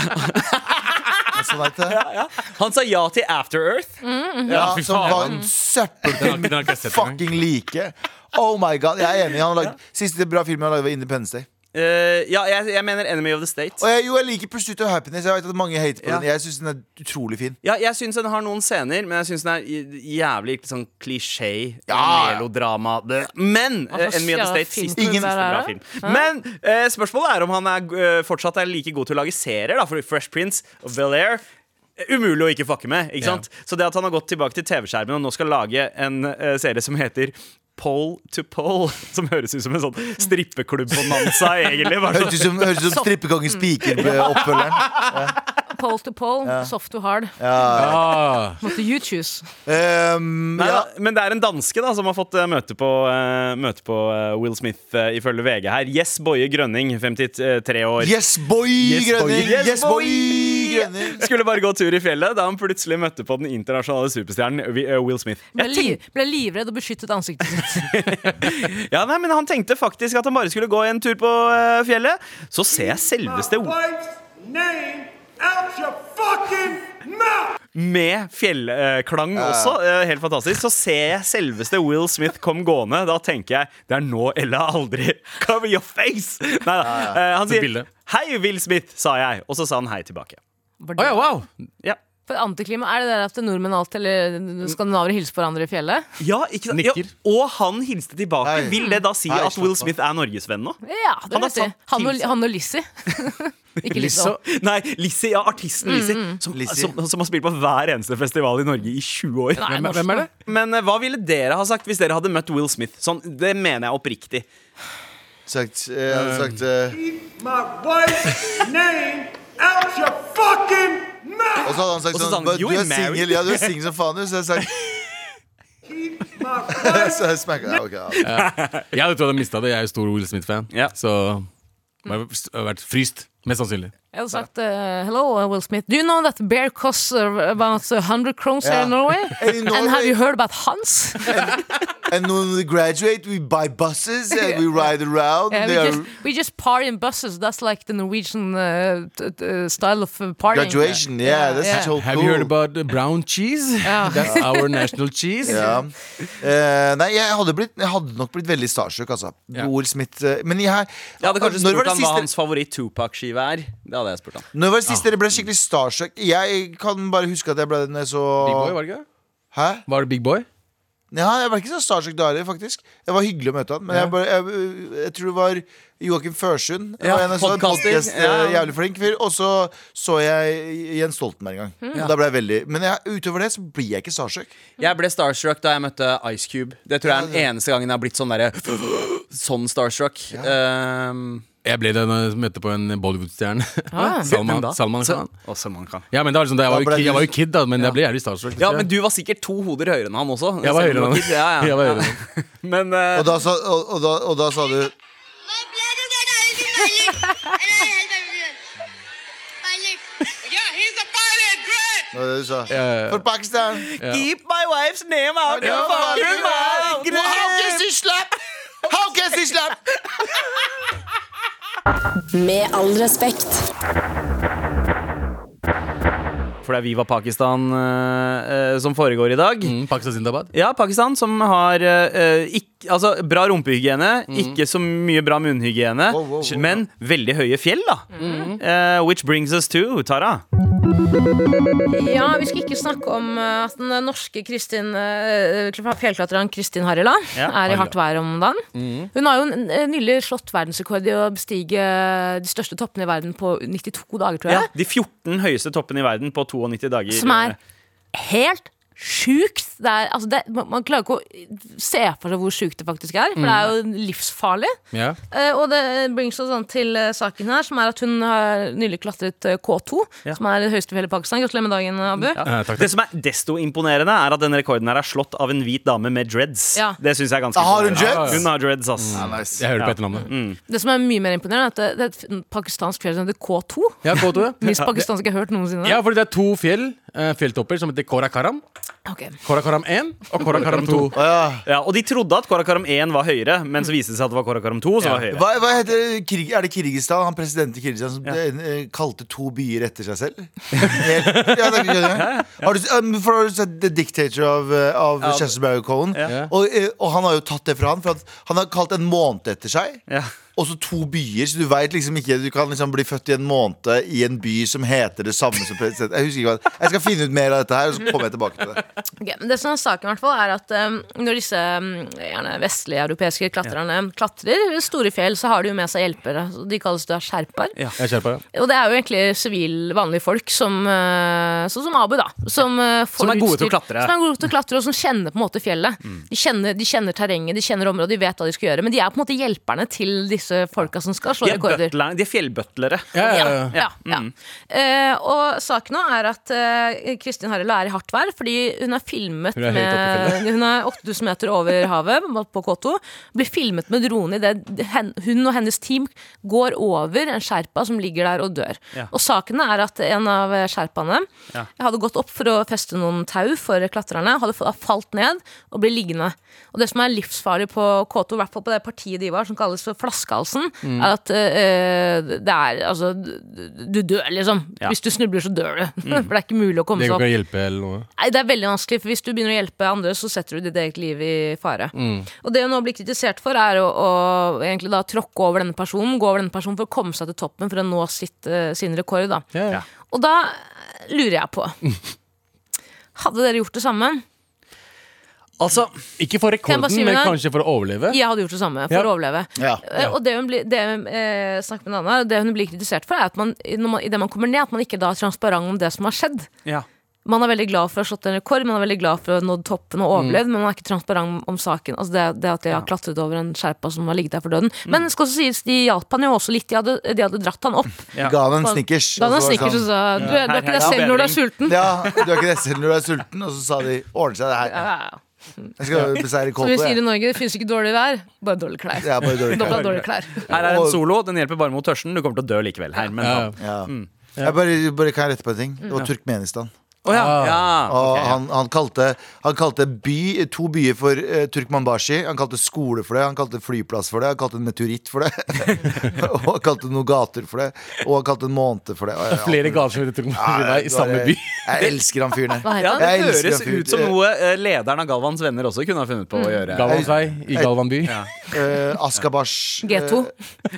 Speaker 5: Han sa nei til det.
Speaker 2: Han sa ja til After Earth.
Speaker 5: Ja,
Speaker 3: fy
Speaker 5: som
Speaker 3: faen.
Speaker 5: var en
Speaker 3: Den har-
Speaker 5: søppelfilm.
Speaker 3: den har ikke jeg sett engang.
Speaker 5: Fucking like. Oh my god, jeg er enig. Han har lagd, siste bra film han har lagd, var Independence Day.
Speaker 2: Eh, ja, jeg, jeg mener Enemy of the State.
Speaker 5: Og jeg, jo, jeg liker Pursuit of Happiness. Jeg vet at mange hater på
Speaker 2: Ja.
Speaker 5: den. Jeg syns den er utrolig fin.
Speaker 2: Ja, jeg syns den har noen scener, men jeg syns den er j- jævlig sånn klisjé.
Speaker 5: Ja.
Speaker 2: Melodrama. Det- Men
Speaker 4: Hva slags
Speaker 2: eh, Enemy of the
Speaker 4: jævla
Speaker 2: State siste
Speaker 4: filmklubber
Speaker 5: Ingen-
Speaker 4: er
Speaker 2: bra
Speaker 4: det?
Speaker 2: film. Men eh, spørsmålet er om han er, eh, fortsatt er like god til å lage serier, da, for Fresh Prince og Bel-Air eh, Umulig å ikke fucke med. ikke
Speaker 3: Ja.
Speaker 2: sant? Så det at han har gått tilbake til TV-skjermen og nå skal lage en eh, serie som heter Pole to Pole, som høres ut som en sånn strippeklubb-bonanza, egentlig. Bare sånn.
Speaker 5: Hørtes ut som, hørtes ut som Strippekongen Spiker ble oppfølgeren.
Speaker 4: Pole to pole, soft to hard.
Speaker 3: Ah.
Speaker 4: Måtte you choose.
Speaker 5: Ehm,
Speaker 2: Nei,
Speaker 5: ja.
Speaker 2: da, men det er en danske da, som har fått eh, møte på, eh, møte på eh, Will Smith, eh, ifølge VG her. Yes, Boje Grønning, 53 år.
Speaker 5: Yes, boy, Grønning!
Speaker 2: Yes,
Speaker 5: Yes,
Speaker 2: boy!
Speaker 5: boy, Grønning!
Speaker 2: Skulle bare gå tur i fjellet da han plutselig møtte på den internasjonale superstjernen Vi- eh, Will Smith.
Speaker 4: Ble,
Speaker 2: Jeg
Speaker 4: li
Speaker 2: tenk-
Speaker 4: ble livredd og beskyttet ansiktet sitt.
Speaker 2: ja, nei, men Han tenkte faktisk at han bare skulle gå en tur på eh, fjellet. Så ser jeg selveste
Speaker 8: wife's name out your fucking mouth!
Speaker 2: Med fjellklang også, eh, helt fantastisk. Så ser jeg selveste Will Smith kom gående. Da tenker jeg det er nå eller aldri. Cover your face! Neida. Eh, han
Speaker 3: Så
Speaker 2: sier
Speaker 3: bildet.
Speaker 2: 'Hei, Will Smith', sa jeg. Og så sa han hei tilbake.
Speaker 3: Å ja, wow!
Speaker 2: Ja,
Speaker 4: For antiklima er det der at nordmenn alltid, eller skandinaver hilser på hverandre i fjellet?
Speaker 2: ja ikke sant? Ja,
Speaker 3: Nikker.
Speaker 2: og han hilste tilbake.
Speaker 5: Hei.
Speaker 2: Vil det da si
Speaker 5: Hei,
Speaker 2: at Will
Speaker 5: slapp av.
Speaker 2: Smith er norgesvenn nå?
Speaker 4: Ja, det
Speaker 2: Han har
Speaker 4: vet jeg.
Speaker 2: tatt
Speaker 4: Han
Speaker 2: til
Speaker 4: og,
Speaker 2: seg-
Speaker 4: han og Lizzie. Ikke Lizzie.
Speaker 3: Så,
Speaker 4: også.
Speaker 2: Nei, Lizzie, ja,
Speaker 3: Mm,
Speaker 2: artisten Lizzie, som,
Speaker 5: Lizzie.
Speaker 2: Som, som har spilt på hver eneste festival i Norge i 20 år.
Speaker 4: Nei,
Speaker 3: hvem,
Speaker 4: norsk,
Speaker 3: hvem er det?
Speaker 2: Men eh, hva ville dere ha sagt hvis dere hadde møtt Will Smith? Sånn, det mener jeg oppriktig.
Speaker 5: Sagt, eh, jeg hadde sagt eh,
Speaker 8: My wife's name out your fucking
Speaker 5: Og
Speaker 8: mouth!
Speaker 5: så hadde han sagt
Speaker 2: Og så sa han,
Speaker 5: sånn "But
Speaker 2: "You
Speaker 5: Du er
Speaker 2: ain't married."
Speaker 5: singel, ja, du er singel som faen, du. Så jeg sagt
Speaker 8: Keep my wife's
Speaker 5: så jeg smakket, ja, ok, ja.
Speaker 3: Jeg hadde trodd jeg mista det. Jeg er jo stor Will Smith-fan.
Speaker 2: Ja.
Speaker 3: Så jeg har vært fryst. Mest sannsynlig.
Speaker 4: Jeg hadde sagt eh, hello, Will Smith. Do you know that bear costs uh, about 100 kroner
Speaker 5: Ja.
Speaker 4: here in Norway?
Speaker 5: In
Speaker 4: And have
Speaker 5: Norway-
Speaker 4: you heard about Hans?
Speaker 5: And when we graduate, we buy buses and we ride around.
Speaker 4: Yeah, we,
Speaker 5: They are-
Speaker 4: just, we just party in buses. That's like the Norwegian uh, t- t- style of uh, partying.
Speaker 5: Graduation, yeah, that's
Speaker 4: yeah.
Speaker 5: so
Speaker 3: Have
Speaker 5: cool.
Speaker 3: you heard about the brown cheese?
Speaker 4: Ja.
Speaker 3: That's our national cheese.
Speaker 5: Ja. Eh, nei, jeg hadde, blitt, jeg hadde nok blitt veldig starstruck, altså.
Speaker 3: Ja.
Speaker 5: Will Smith eh, Men jeg, her,
Speaker 2: Jeg hadde kanskje
Speaker 5: når var
Speaker 2: spurt
Speaker 5: det
Speaker 2: han hva
Speaker 5: sist-
Speaker 2: hans favoritt Tupac-skive er. Det hadde jeg spurt han
Speaker 5: Når var det sist dere ble skikkelig starstruck? Jeg kan bare huske at jeg ble når jeg så
Speaker 3: Big Boy, var det ikke?
Speaker 5: Hæ?
Speaker 3: Var det Big Boy?
Speaker 5: Ja, jeg ble ikke så starstruck da heller, faktisk. Det var hyggelig å møte han, men jeg, bare, jeg, jeg tror det var Joakim Førsund.
Speaker 2: Ja,
Speaker 5: var en jeg så, en
Speaker 2: podcaster.
Speaker 5: podcast, eh,
Speaker 2: Ja.
Speaker 5: Jævlig flink fyr. Og så så jeg Jens Stoltenberg en gang.
Speaker 2: Hmm.
Speaker 5: Og Da ble jeg veldig Men jeg, utover det så blir jeg ikke starstruck.
Speaker 2: Jeg ble starstruck da jeg møtte Ice Cube. Det tror jeg er den eneste gangen jeg har blitt sånn derre Sånn starstruck. Ehm,
Speaker 3: Jeg ble det når jeg møtte på en Bollywood-stjerne. Salman,
Speaker 2: hvem da?
Speaker 3: Salman Khan.
Speaker 2: Å, Salman Khan.
Speaker 3: Ja, men det var liksom, da jeg, var jo
Speaker 5: Da ble
Speaker 3: kid, jeg
Speaker 5: du-
Speaker 3: var jo kid, da, men jeg ble jævlig starstruck.
Speaker 2: Ja, men du var sikkert to hoder høyere enn han også.
Speaker 3: Jeg var høyere enn han.
Speaker 2: Ja, ja.
Speaker 3: Jeg var høyere enn
Speaker 2: Men eh,
Speaker 5: Og da, sa, og, og, da, og da sa du
Speaker 6: मैं blood will get out of my lip. And I held my blood. My lip. Yeah, he's a pilot. Great.
Speaker 5: Hva var det du sa?
Speaker 3: ja, ja.
Speaker 5: For Pakistan!
Speaker 2: Keep my wife's name out
Speaker 5: Ja,
Speaker 2: of fucking
Speaker 5: Pakistan.
Speaker 2: mouth!
Speaker 5: How can she slap? How can she slap?
Speaker 1: Med all respekt.
Speaker 2: For det er Viva Pakistan eh, eh, som foregår i dag.
Speaker 3: Mm, Pakistan Zindabad.
Speaker 2: Ja, Pakistan som har eh, ikk, altså, bra rumpehygiene, ikke så mye bra munnhygiene,
Speaker 5: Mm. Wow, wow, wow.
Speaker 2: men veldig høye fjell, da.
Speaker 4: Mm.
Speaker 2: Eh, which brings us to Tara.
Speaker 4: Ja, vi skal ikke snakke om eh, at den norske Kristin eh, fjellklatreren Kristin Harila
Speaker 2: Ja. Mm.
Speaker 4: er i hardt vær om dagen. Hun har jo n- eh, nylig slått verdensrekord i å bestige de største toppene i verden på 92 dager, tror
Speaker 2: Ja,
Speaker 4: jeg.
Speaker 2: de 14 høyeste toppene i verden på 92 dager.
Speaker 4: Som er helt sjukt. Det er, altså det, man man klarer ikke å se for seg hvor sjukt det faktisk er, for det er
Speaker 2: Mm.
Speaker 4: jo livsfarlig.
Speaker 3: Ja.
Speaker 4: Eh, og det brings oss sånn til eh, saken her, som er at hun har nylig klatret eh, K2,
Speaker 2: Ja.
Speaker 4: som er det høyeste fjellet i Pakistan. Gratulerer med dagen, Abu.
Speaker 2: Ja.
Speaker 3: Eh, takk,
Speaker 2: Det som er desto imponerende, er at denne rekorden her er slått av en hvit dame med dreads.
Speaker 4: Ja.
Speaker 2: Det synes jeg er ganske
Speaker 5: Ah, Har hun
Speaker 2: imponerende.
Speaker 5: dreads? Mm.
Speaker 2: Hun har dreads, ass.
Speaker 5: nice.
Speaker 3: Jeg hører på etternavnet.
Speaker 4: Det som er mye mer imponerende, er at det, det er et f- pakistansk fjell som heter K2.
Speaker 3: Ja, K2, ja.
Speaker 4: Hvis pakistansk jeg har hørt noensinne.
Speaker 3: ja, fordi det er to fjell, eh, fjelltopper, som heter Korakaram.
Speaker 4: Ok.
Speaker 3: Korakaram 1 og Korakaram 2.
Speaker 5: Å, ja.
Speaker 2: Ja, og de trodde at Korakaram 1 var høyere, men så viste det seg at det var Korakaram 2 som var høyere.
Speaker 5: Hva, hva heter Kirg Er det Kirgistan? Han presidenten i Kirgistan som eh, kalte to byer etter seg selv? Helt- ja, det er ikke det. Har du, s- um, for har du sett The Dictator av, eh, av Chesterberg Cohen? Og, eh, og han har jo tatt det fra han, for at han har kalt en måned etter seg.
Speaker 2: Ja.
Speaker 5: Og så to byer, så du veit liksom ikke Du kan liksom bli født i en måned i en by som heter det samme som president. Jeg husker ikke hva Jeg skal finne ut mer av dette her, og så kommer jeg tilbake til det.
Speaker 4: Ok, men det som er saken i hvert fall er at um, når disse um, gjerne vestlige europeiske klatrerne klatrer ved store fjell, så har de jo med seg hjelpere. Så De kalles da sherpaer.
Speaker 2: Ja.
Speaker 3: Jeg kjører på, ja.
Speaker 4: Og det er jo egentlig sivil, vanlige folk, som, eh, sånn som Abu, da. Som, eh, får
Speaker 2: Som er gode til å
Speaker 4: utstyr-
Speaker 2: klatre. Mm.
Speaker 4: Som er gode til å klatre, og som kjenner på en måte fjellet. De, kjenner, de kjenner terrenget, de kjenner området, de vet hva de skal gjøre. Men de er på en måte hjelperne til disse folka som skal slå
Speaker 2: De er,
Speaker 4: rekorder.
Speaker 2: butler, de er fjellbutlere.
Speaker 3: Ja, ja, ja.
Speaker 4: Ja,
Speaker 2: Mm.
Speaker 4: ja. Eh, og saken nå er at eh, Kristin Harald er i hardt vær fordi hun er filmet
Speaker 3: Hun er høyt oppe i
Speaker 4: med Hun er 8000 meter over havet på K2. Blir filmet med drone idet hen- hun og hennes team går over en sherpa som ligger der og dør.
Speaker 2: Ja.
Speaker 4: Og saken er at en av sherpaene
Speaker 2: Ja.
Speaker 4: hadde gått opp for å feste noen tau for klatrerne. Hadde fa- falt ned og ble liggende. Og det som er livsfarlig på K2, i hvert fall på det partiet de var, som kalles for flaskehalsen,
Speaker 2: Mm.
Speaker 4: er at eh, det er Altså, du dør, liksom.
Speaker 2: Ja. Mm.
Speaker 4: Hvis du snubler, så dør du. for det er ikke mulig å komme
Speaker 3: Det
Speaker 4: seg
Speaker 3: går
Speaker 4: opp.
Speaker 3: ikke å hjelpe eller noe.
Speaker 4: Nei, det er veldig vanskelig, for hvis du begynner å hjelpe andre, så setter du ditt eget liv i fare. Og det hun nå blir kritisert for, er å, å egentlig da tråkke over denne personen, gå over denne personen for å komme seg til toppen for å nå sitt, eh, sin rekord, da.
Speaker 3: Ja,
Speaker 2: Ja.
Speaker 3: ja.
Speaker 4: Og da lurer jeg på Hadde dere gjort det samme?
Speaker 2: Altså,
Speaker 3: Ikke for
Speaker 4: Kan jeg bare
Speaker 3: rekorden,
Speaker 4: si
Speaker 3: men
Speaker 4: det?
Speaker 3: kanskje for å overleve.
Speaker 4: Jeg hadde gjort det samme for
Speaker 3: Ja.
Speaker 4: å overleve.
Speaker 5: Ja.
Speaker 4: Eh, Og det hun blir, det, eh, snakk med en annen, her, det hun blir kritisert for, er at man, når man, i det man kommer ned, at man ikke da er transparent om det som har skjedd.
Speaker 2: ja.
Speaker 4: Man er veldig glad for å ha slått en rekord, man er veldig glad for å ha nådd toppen og overlevd, men man er ikke transparent om saken. Altså det, det at de har klatret over en sherpa som har ligget der for døden. Men det skal også sies, de hjalp han jo også litt. De hadde, de hadde dratt han opp.
Speaker 2: Ja.
Speaker 5: Ga han en snickers.
Speaker 4: Da
Speaker 5: og
Speaker 4: hadde han
Speaker 5: så var det
Speaker 4: snikker og
Speaker 5: sånn,
Speaker 4: sa du, er- du er
Speaker 2: Her-
Speaker 4: ikke
Speaker 2: her
Speaker 4: deg
Speaker 2: er
Speaker 4: selv når du er
Speaker 2: bedring.
Speaker 4: sulten.
Speaker 5: Ja, du er ikke det selv når du er sulten. Og så sa de 'ordner seg, det her'.
Speaker 4: Ja, ja.
Speaker 5: Jeg skal beseire
Speaker 4: Som
Speaker 5: K2.
Speaker 4: vi sier i
Speaker 5: Jeg.
Speaker 4: Norge, det fins ikke dårlig vær, bare dårlige klær.
Speaker 5: Jeg er bare dårlig.
Speaker 4: Dobla dårlige klær.
Speaker 2: Her er en solo. Den hjelper bare mot tørsten. Du kommer til å dø likevel. her men,
Speaker 3: Ja.
Speaker 5: Ja. Jeg bare, bare kan jeg rette på en ting. Det var Turkmenistan.
Speaker 2: Å ja.
Speaker 3: Ah.
Speaker 2: Ja.
Speaker 5: Og
Speaker 2: ok, ja.
Speaker 5: Ah, han, han kalte, han kalte by, to byer for eh, Turkmanbashi. Han kalte skole for det, han kalte flyplass for det, han kalte en meteoritt for det. og han kalte noen gater for det, og han kalte en måned for det. Og, ja,
Speaker 3: Flere gater som heter
Speaker 5: ja,
Speaker 3: Turkmenistan i
Speaker 5: det
Speaker 3: samme
Speaker 5: var-
Speaker 3: by.
Speaker 5: Jeg elsker han fyren her.
Speaker 4: Hva
Speaker 2: Ja,
Speaker 4: heter han?
Speaker 2: det
Speaker 5: Jeg elsker
Speaker 2: høres
Speaker 5: at hun-
Speaker 2: ut som noe eh, lederen av Galvans venner også kunne ha funnet på å
Speaker 3: Mm.
Speaker 2: gjøre.
Speaker 3: Galvans vei i Galvan by.
Speaker 5: Uh, Eh, Askabash.
Speaker 4: G2.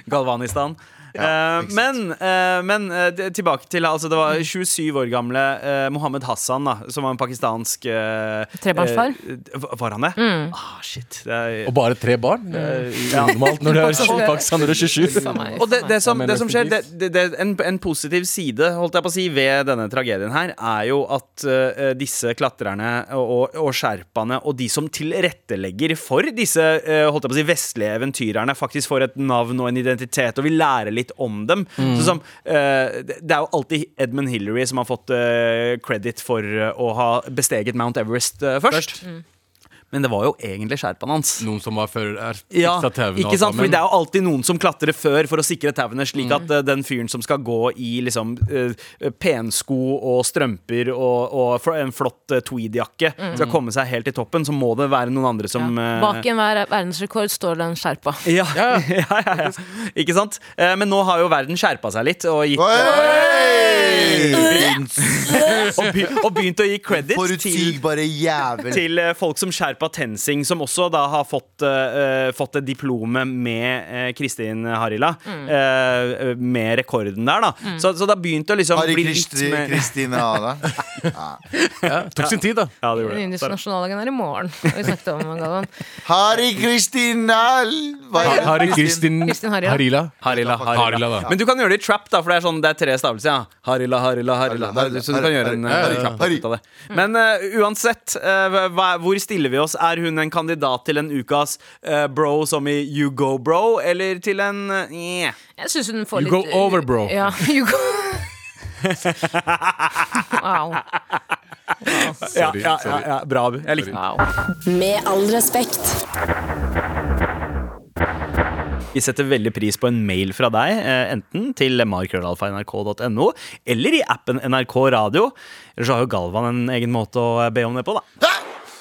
Speaker 2: Galvanistan. Eh, men eh, men eh, det- tilbake til altså, Det var 27 år gamle eh, Mohammed Hassan, da, som var en pakistansk eh,
Speaker 4: Trebarnsfar.
Speaker 2: eh, v- var han det? Ah, shit. Det er, eh,
Speaker 3: Og bare tre barn? Det er Unormalt når du er
Speaker 4: Pakistan-
Speaker 3: Pakistan når du er 27.
Speaker 4: For meg.
Speaker 2: Og det, det, som,
Speaker 3: Jeg mener
Speaker 2: det som skjer, det,
Speaker 3: effektivt.
Speaker 2: det, det, en, en positiv side holdt jeg på å si ved denne tragedien her, er jo at eh, disse klatrerne og, og- og sherpaene og de som tilrettelegger for disse eh, holdt jeg på å si, vestlige eventyrerne, faktisk får et navn og en identitet, og vi lærer litt om dem. Sånn som, eh, det det er jo alltid Edmund Hillary som har fått uh, credit for eh, å ha besteget Mount Everest eh, først.
Speaker 4: Mm.
Speaker 2: Men det var jo egentlig sherpaen hans.
Speaker 3: Noen som var før er
Speaker 2: Ja,
Speaker 3: fiksa tauene
Speaker 2: ikke sant? Fordi det er jo alltid noen som klatrer før for å sikre tauene, slik at eh, den fyren som skal gå i liksom eh, pensko og strømper og, og fl- en flott eh, tweedjakke, skal komme seg helt til toppen, så må det være noen andre som eh,
Speaker 4: Bak i enhver verdensrekord står det en sherpa.
Speaker 2: ja. Ja, ja, ja, Ikke sant? Eh, Men nå har jo verden skjerpa seg litt og,
Speaker 5: eh,
Speaker 2: gitt, og, be, og begynt å gi credit til
Speaker 5: Forutsigbare jævel.
Speaker 2: til eh, folk som Sherpa Tensing, som også da har fått, eh, fått et diplome med eh, Kristin Harila. eh, med rekorden der, da. Så, så det har begynt å liksom
Speaker 5: Harry
Speaker 2: bli litt
Speaker 5: Kristi-
Speaker 2: mer
Speaker 5: Kristine Ada.
Speaker 3: ja, tok sin tid, da.
Speaker 2: ja, det gjorde det.
Speaker 4: Indisk nasjonaldagen er i morgen. og Vi snakket om Galvan.
Speaker 5: Harry Kristin Al... Hva
Speaker 3: Ha-
Speaker 5: er det?
Speaker 3: Hari Kristin
Speaker 4: Kristin Harila.
Speaker 3: Harila.
Speaker 2: Harila, Harila.
Speaker 3: Harila, da.
Speaker 2: Men du kan gjøre det i trap, da, for det er sånn, det er tre stavelser. Ja. Harila, Harila, Harila.
Speaker 5: Harila,
Speaker 2: Så du kan
Speaker 5: Harila,
Speaker 2: gjøre en
Speaker 5: Harila,
Speaker 2: eh,
Speaker 5: Harila,
Speaker 2: trap ut av det. Men eh, uansett, eh, hva, hvor stiller vi oss? Er hun en kandidat til en ukas eh, bro som i You Go Bro, eller til en eh,
Speaker 4: Jeg synes hun får
Speaker 3: You
Speaker 4: litt
Speaker 3: go over, bro.
Speaker 4: Ja, you go Wow.
Speaker 2: ja,
Speaker 3: Sorry,
Speaker 2: ja, ja,
Speaker 3: sorry.
Speaker 2: ja, bra, Abu. Jeg likte den.
Speaker 4: wow.
Speaker 1: Med all respekt.
Speaker 2: Vi setter veldig pris på en mail fra deg, eh, enten til markrøllalfa.nrk.no eller i appen NRK Radio. Eller så har jo Galvan en egen måte å eh, be om det på, da.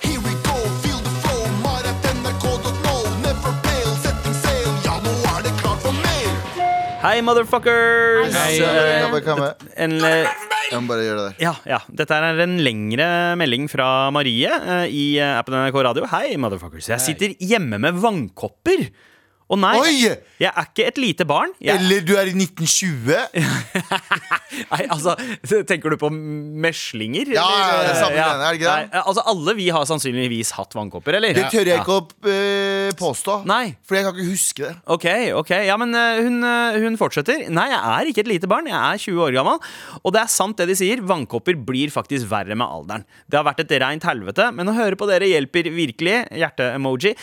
Speaker 9: Here we go, feel the flow, mar at nrk.no. Never fail, setting sail, ja, nå er det klart for mer.
Speaker 2: Hei, motherfuckers! Eh,
Speaker 5: Kan vi- kan vi-
Speaker 2: En, eh,
Speaker 5: Jeg må bare gjøre det der.
Speaker 2: ja, ja. Dette er en lengre melding fra Marie eh, i eh, appen NRK Radio. Hei, motherfuckers. Jeg sitter hjemme med vannkopper. Å nei,
Speaker 5: Oi!
Speaker 2: jeg er ikke et lite barn. Jeg
Speaker 5: Eller du er i 1920.
Speaker 2: Nei, altså, Tenker du på meslinger?
Speaker 5: Ja, ja, det er samme greiene, er det ikke det?
Speaker 2: Nei, altså, Alle vi har sannsynligvis hatt vannkopper, eller?
Speaker 5: Det tør jeg ikke å eh, påstå.
Speaker 2: Nei.
Speaker 5: For jeg kan ikke huske det.
Speaker 2: Ok, ok, ja, men eh, hun, eh, hun fortsetter. Nei, jeg er ikke et lite barn, jeg er 20 år gammel. Og det er sant det de sier, vannkopper blir faktisk verre med alderen. Det har vært et reint helvete, men å høre på dere hjelper virkelig. Hjerte-emoji.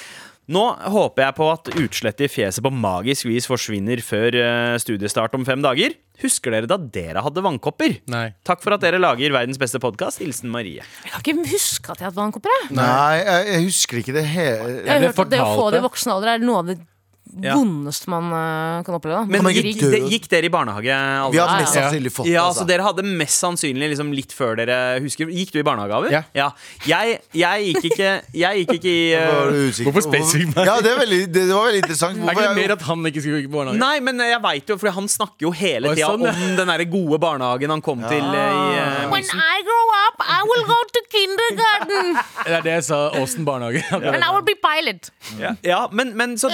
Speaker 2: Nå håper jeg på at utslettet i fjeset på magisk vis forsvinner før eh, studiestart om fem dager. Husker dere da dere hadde vannkopper?
Speaker 3: Nei.
Speaker 2: Takk for at dere lager verdens beste podkast. Hilsen Marie.
Speaker 4: Jeg kan ikke huske at jeg hadde vannkopper. Jeg,
Speaker 5: Nei, jeg, jeg husker ikke det hele
Speaker 4: jeg har
Speaker 3: det
Speaker 4: hørt at det å få
Speaker 3: fortalte-
Speaker 4: det i voksen alder er noe av det
Speaker 2: Ja.
Speaker 4: vondeste man eh, kan oppleve. da.
Speaker 2: Men
Speaker 5: Kan man ikke
Speaker 2: gikk,
Speaker 5: dø?
Speaker 2: det, gikk dere i barnehage? alle?
Speaker 5: Vi har
Speaker 4: Ja,
Speaker 5: mest
Speaker 3: ja.
Speaker 5: sannsynlig fått det.
Speaker 2: Ja,
Speaker 5: Altså.
Speaker 2: så dere hadde mest sannsynlig liksom litt før dere husker Gikk du i barnehage, Abu?
Speaker 3: Ja.
Speaker 2: Jeg, jeg gikk ikke Jeg gikk ikke i
Speaker 5: Hva var
Speaker 2: eh,
Speaker 5: du usikker på?
Speaker 3: Hvorfor spesifikk meg?
Speaker 5: Ja, det, er veldig, det, det var veldig interessant.
Speaker 3: Er ikke det
Speaker 5: Hvorfor
Speaker 3: mer at han ikke skulle gå i barnehage?
Speaker 2: Nei, men jeg veit jo, for han snakker jo hele
Speaker 3: Oi,
Speaker 2: tida
Speaker 3: sånn, ja.
Speaker 2: om den derre gode barnehagen han kom til eh, i eh,
Speaker 4: When I grow up, I will go to kindergarten
Speaker 3: Det er det jeg sa. Åsen barnehage.
Speaker 4: and I will be pilot.
Speaker 2: Ja, ja men, men så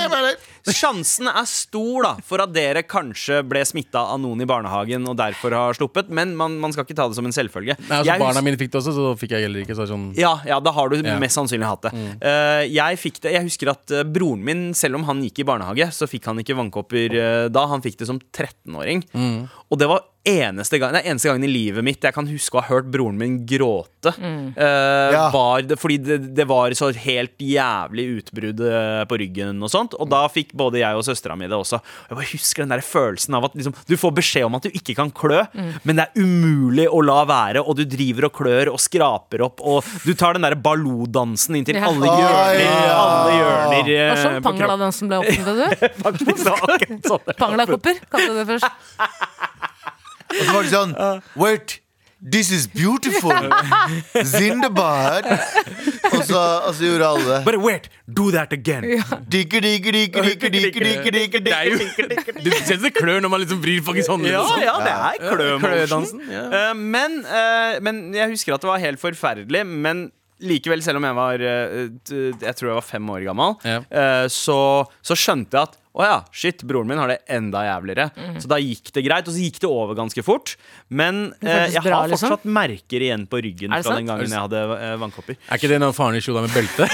Speaker 2: Sjansen er stor da for at dere kanskje ble smitta av noen i barnehagen og derfor har sluppet, men man, man skal ikke ta det som en selvfølge.
Speaker 3: Nei, altså,
Speaker 2: Jeg hus-
Speaker 3: barna mine fikk det også, så fikk jeg heller ikke. Så er det sånn
Speaker 2: Ja, ja, da har du
Speaker 3: Ja.
Speaker 2: mest sannsynlig hatt det. Eh, jeg, fikk det. jeg husker at eh, broren min, selv om han gikk i barnehage, så fikk han ikke vannkopper eh, da. Han fikk det som 13-åring. Og det var eneste gang, det er eneste gangen i livet mitt jeg kan huske å ha hørt broren min gråte. Eh,
Speaker 5: Ja.
Speaker 2: var det, fordi det, det var så helt jævlig utbrudd eh, på ryggen og sånt. Og da fikk både jeg og søstera mi det også. Jeg bare husker den der følelsen av at liksom, du får beskjed om at du ikke kan klø, men det er umulig å la være, og du driver og klør og skraper opp, og du tar den der ballodansen inntil
Speaker 4: Ja.
Speaker 2: alle
Speaker 5: Ai,
Speaker 2: hjørner,
Speaker 5: ja.
Speaker 2: alle hjørner
Speaker 4: Det
Speaker 2: eh,
Speaker 4: var sånn
Speaker 2: på kroppen.
Speaker 4: Pangla den som ble åpnet, vet du.
Speaker 2: Faktisk, det var akkurat sånn det var.
Speaker 4: Pangla-kopper, kalte jeg det først.
Speaker 5: Og så var det sånn Wait, this is beautiful. Zindabad. Og så, og så gjorde alle det.
Speaker 2: Bare wait, do that again.
Speaker 5: Dikke, dikke, dikke, dikke, dikke, dikke, dikke,
Speaker 3: Det
Speaker 5: dikke.
Speaker 3: er jo Du ser det klør når man liksom vrir faktisk håndleddet.
Speaker 2: Ja,
Speaker 3: sånn.
Speaker 2: ja, det er klø-motion.
Speaker 3: Klødansen,
Speaker 2: Eh, men, eh, men jeg husker at det var helt forferdelig. Men likevel, selv om jeg var eh, t- Jeg tror jeg var fem år gammel,
Speaker 3: Ja.
Speaker 2: eh, så, så skjønte jeg at å ja, shit, broren min har det enda jævligere.
Speaker 4: Mhm.
Speaker 2: Så da gikk det greit, og så gikk det over ganske fort. Men eh,
Speaker 4: føltes
Speaker 2: jeg
Speaker 4: bra,
Speaker 2: har
Speaker 4: liksom?
Speaker 2: fortsatt merker igjen på ryggen
Speaker 4: Er det
Speaker 2: fra
Speaker 4: sant?
Speaker 2: den gangen jeg hadde eh, vannkopper.
Speaker 3: Er ikke det når faren din slo deg med belte?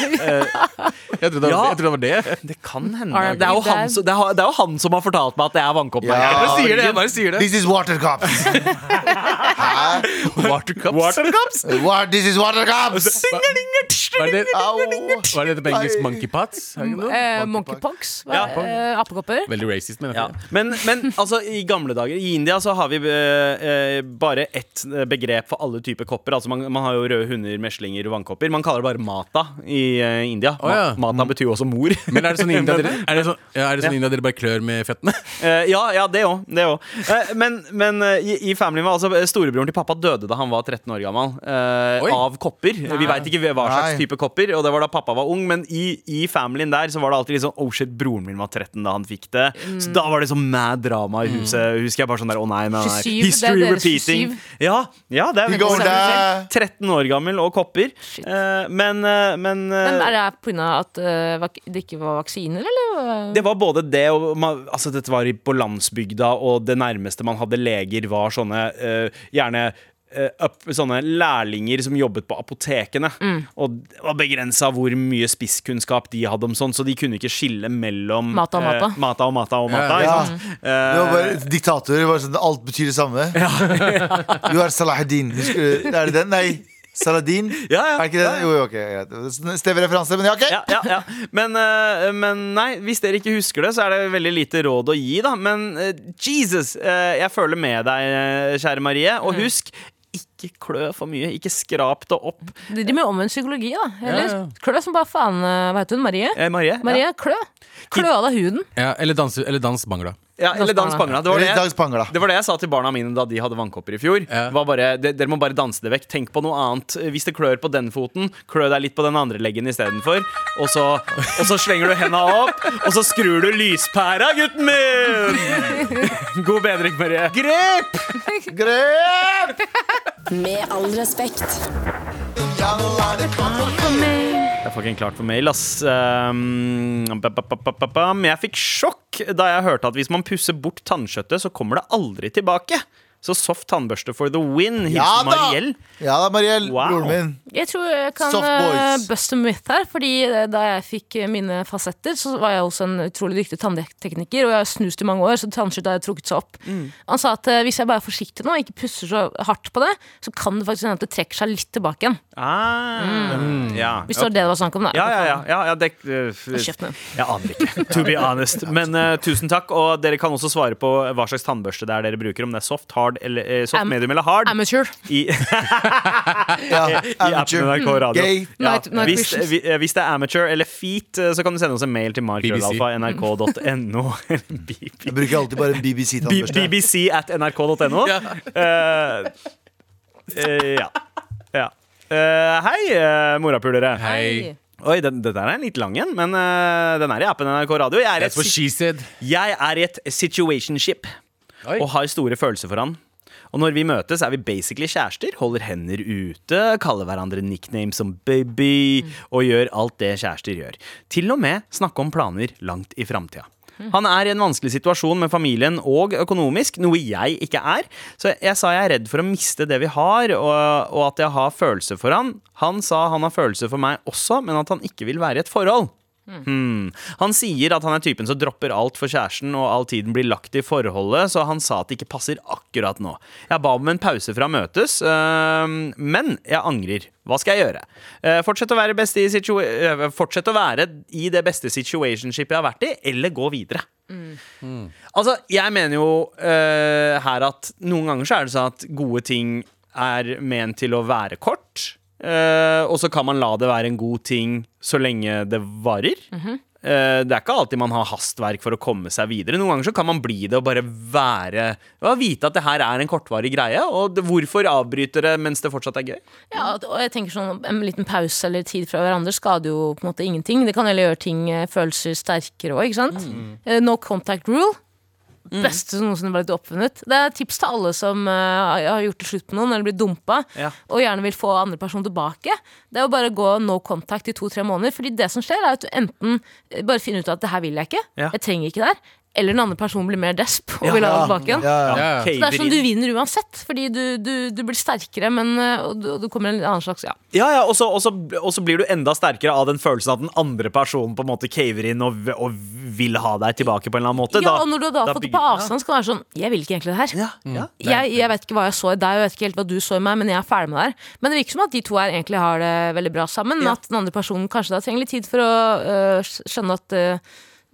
Speaker 3: jeg trodde det
Speaker 2: ja.
Speaker 3: var- jeg trodde det var det.
Speaker 2: Det kan hende.
Speaker 4: Har Mm. det
Speaker 2: Det er, jo
Speaker 4: blitt
Speaker 2: han,
Speaker 4: der?
Speaker 2: som- det, er, det er jo han som har fortalt meg at det er vannkopper.
Speaker 5: Ja.
Speaker 2: Jeg bare sier det, jeg bare sier det.
Speaker 5: This is water cups. Hæ?
Speaker 3: Watercups.
Speaker 2: Watercups!
Speaker 5: What, this is water cups!
Speaker 3: Hva er det,
Speaker 5: Au.
Speaker 3: hva er det på engelsk? Monkey pots? Er det ikke det?
Speaker 4: Eh, Monkeypox. hva-
Speaker 2: Ja.
Speaker 4: eh, Apekopper.
Speaker 3: Veldig racist, men
Speaker 2: Ja. Men, men altså, i gamle dager I India så har vi eh, eh, bare ett eh, begrep for alle typer kopper. Altså man, man har jo røde hunder, meslinger og vannkopper. Man kaller det bare mata i eh, India.
Speaker 3: Å, ja. Mm.
Speaker 2: Ma- Mata betyr jo også mor.
Speaker 3: Men er det sånn i India dere, er det sånn, ja, er det sånn i India dere bare klør med føttene?
Speaker 2: Eh, ja, ja, det òg. Det òg. Eh, men men eh, i, i familien var altså eh, storebroren til pappa døde da han var 13 år gammel. eh,
Speaker 3: Oi.
Speaker 2: av kopper. Vi veit ikke hva slags
Speaker 5: Nei.
Speaker 2: type kopper, og det var da pappa var ung. Men i, i familien der så var det alltid litt sånn Oh shit, broren min var 13 da han fikk det.
Speaker 4: Mm.
Speaker 2: Så da var det sånn mad drama i huset. Husker jeg bare sånn der, å nei, nei, nei.
Speaker 4: 27, Mm. det er deres 27.
Speaker 2: Ja, ja, det er
Speaker 5: You go
Speaker 9: Sånn.
Speaker 2: veldig-
Speaker 5: there.
Speaker 2: 13 år gammel og kopper. Eh, men eh, men eh,
Speaker 4: Men er det pga. at eh, vak- det ikke var vaksiner, eller?
Speaker 2: det var både det og man, altså Dette var i- på landsbygda, og det nærmeste man hadde leger, var sånne eh, gjerne eh, up, sånne lærlinger som jobbet på apotekene.
Speaker 4: Mm.
Speaker 2: Og det var begrensa hvor mye spisskunnskap de hadde om sånn, så de kunne ikke skille mellom
Speaker 4: Mata og
Speaker 2: eh,
Speaker 4: mata.
Speaker 2: mata og mata. Og mata
Speaker 5: Ja.
Speaker 2: ikke sant?
Speaker 5: Det var bare diktatorer. Bare sånn, alt betyr det samme. Du er Salahuddin. Husker du- Er det den? Nei. Saladin?
Speaker 2: Ja, ja.
Speaker 5: Er ikke det? Jo, jo, ok. greit. Stevig referanse, men ja, ok.
Speaker 2: ja, ja, ja. Men, eh, men nei, hvis dere ikke husker det, så er det veldig lite råd å gi, da. Men eh, Jesus, eh, jeg føler med deg, eh, kjære Marie.
Speaker 4: Mm.
Speaker 2: Og husk, ikke klø for mye. Ikke skrap det opp.
Speaker 4: De driver med omvendt psykologi, da. Eller
Speaker 3: Ja, ja.
Speaker 4: klø som bare faen. eh, Hva heter hun? Marie?
Speaker 2: Eh, Marie?
Speaker 4: Marie, klø. Klø av deg huden.
Speaker 3: Ja, eller, dans, eller dans bangla.
Speaker 2: Ja, eller dans bangla. Det var det,
Speaker 5: Eller dans
Speaker 2: jeg,
Speaker 5: bangla.
Speaker 2: det var det jeg sa til barna mine da de hadde vannkopper i fjor.
Speaker 3: Ja.
Speaker 2: Var bare, de, dere må bare danse det vekk. Tenk på noe annet. Hvis det klør på den foten, klø deg litt på den andre leggen istedenfor. Og, så- og så slenger du henda opp, og så skrur du lyspæra, gutten min! God bedring, Marie. Grep!
Speaker 5: Grep!
Speaker 1: Med all respekt.
Speaker 9: Ja, nå er det klart for mer.
Speaker 2: Det er fucking klart for mail, ass. Um, ba, ba, ba, ba, ba, ba. Men jeg fikk sjokk da jeg hørte at hvis man pusser bort tannkjøttet, så kommer det aldri tilbake. Så soft tannbørste for the win. Hilsen
Speaker 5: Ja da!
Speaker 2: Mariell.
Speaker 5: Ja da, Mariell.
Speaker 2: Wow.
Speaker 5: Broren min.
Speaker 4: Jeg tror jeg kan
Speaker 5: Soft boys.
Speaker 4: eh, buste myth her, fordi eh, da jeg fikk eh, mine fasetter, så var jeg også en utrolig dyktig tanntekniker, og jeg har snust i mange år, så tannskyttet har trukket seg opp. Han sa at eh, hvis jeg bare er forsiktig nå, og ikke pusser så hardt på det, så kan det faktisk hende at det trekker seg litt tilbake igjen.
Speaker 2: Ah, ja.
Speaker 4: Hvis det var det det var snakk om, da.
Speaker 2: Ja, ja, ja, ja, ja det, øh,
Speaker 4: kjeft med.
Speaker 2: Jeg aner ikke, to be honest. Men eh, tusen takk. Og dere kan også svare på hva slags tannbørste det er dere bruker. Om det er soft, hard, eller, eh, soft
Speaker 4: Am-
Speaker 2: medium eller hard.
Speaker 4: Amateur.
Speaker 2: I,
Speaker 5: Ja,
Speaker 2: i appen
Speaker 5: amateur.
Speaker 2: NRK Radio.
Speaker 5: Gay.
Speaker 2: Ja.
Speaker 4: Night- night
Speaker 2: hvis,
Speaker 4: visions.
Speaker 2: vi- eh, hvis det er amateur eller feet, eh, så kan du sende oss en mail til
Speaker 3: BBC.
Speaker 2: markrøllalfa.nrk.no.
Speaker 5: Jeg bruker alltid bare en BBC-tannbørste.
Speaker 2: BBC at nrk.no. Eh, eh, ja. ja. Eh, hei, eh, morapulere.
Speaker 3: Hei.
Speaker 2: Oi, den, dette er en litt lang en, men eh, den er i appen NRK Radio. Jeg er, i
Speaker 3: That's
Speaker 2: et,
Speaker 3: what
Speaker 2: sit-
Speaker 3: she said.
Speaker 2: jeg er i et situationship
Speaker 3: Oi.
Speaker 2: og har store følelser for han. Og når vi møtes, er vi basically kjærester, holder hender ute, kaller hverandre nicknames som baby og gjør alt det kjærester gjør. Til og med snakke om planer langt i framtida. Han er i en vanskelig situasjon med familien og økonomisk, noe jeg ikke er. Så jeg sa jeg er redd for å miste det vi har, og, og at jeg har følelser for han. Han sa han har følelser for meg også, men at han ikke vil være i et forhold. Hmm. Han sier at han er typen som dropper alt for kjæresten, og all tiden blir lagt i forholdet, så han sa at det ikke passer akkurat nå. Jeg ba om en pause fra møtes, øhm, men jeg angrer. Hva skal jeg gjøre? Eh, Fortsette å være, best i situa eh, fortsette å være i det beste situationshipet jeg har vært i, eller gå videre? Altså, jeg mener jo eh, her at noen ganger så er det sånn at gode ting er ment til å være kort. eh, og så kan man la det være en god ting så lenge det varer.
Speaker 4: Mhm.
Speaker 2: Eh, det er ikke alltid man har hastverk for å komme seg videre. Noen ganger så kan man bli det og bare være ja, Vite at det her er en kortvarig greie. Og det, hvorfor avbryte det mens det fortsatt er gøy?
Speaker 4: Ja, og jeg tenker sånn En liten pause eller tid fra hverandre skader jo på en måte
Speaker 2: Mm.
Speaker 4: ingenting. Det kan heller gjøre ting eh, følelser sterkere òg, ikke sant? Eh, No contact rule. Beste som noensinne ble blitt oppfunnet. Det er et tips til alle som eh, har gjort det slutt med noen eller blitt dumpa,
Speaker 2: Ja.
Speaker 4: og gjerne vil få andre person tilbake. Det er å bare gå no contact i to-tre måneder. Fordi det som skjer, er at du enten eh, bare finner ut at det her vil jeg ikke,
Speaker 2: Ja.
Speaker 4: jeg trenger ikke det her, eller den andre personen blir mer desp og
Speaker 2: Ja.
Speaker 4: vil ha det tilbake igjen.
Speaker 5: Ja, ja.
Speaker 3: Ja, ja.
Speaker 4: Så det er
Speaker 2: Caver
Speaker 4: sånn du
Speaker 2: inn.
Speaker 4: vinner uansett, fordi du, du, du blir sterkere, men eh, og du, og du kommer en annen slags Ja.
Speaker 2: Ja, ja, og så- og så og så blir du enda sterkere av den følelsen at den andre personen på en måte caver inn og, v- og vil ha deg tilbake på en eller annen måte.
Speaker 4: ja og når du da har fått det på
Speaker 2: bygger-
Speaker 4: avstand, skal det være sånn Jeg vil ikke egentlig det her.
Speaker 2: Ja, ja.
Speaker 4: Jeg, jeg vet ikke hva jeg så i deg, og jeg vet ikke helt hva du så i meg, men jeg er ferdig med det her. Men det virker som at de to her egentlig har det veldig bra sammen, men
Speaker 2: Ja.
Speaker 4: at den andre personen kanskje da trenger litt tid for å øh, skjønne at øh, øh,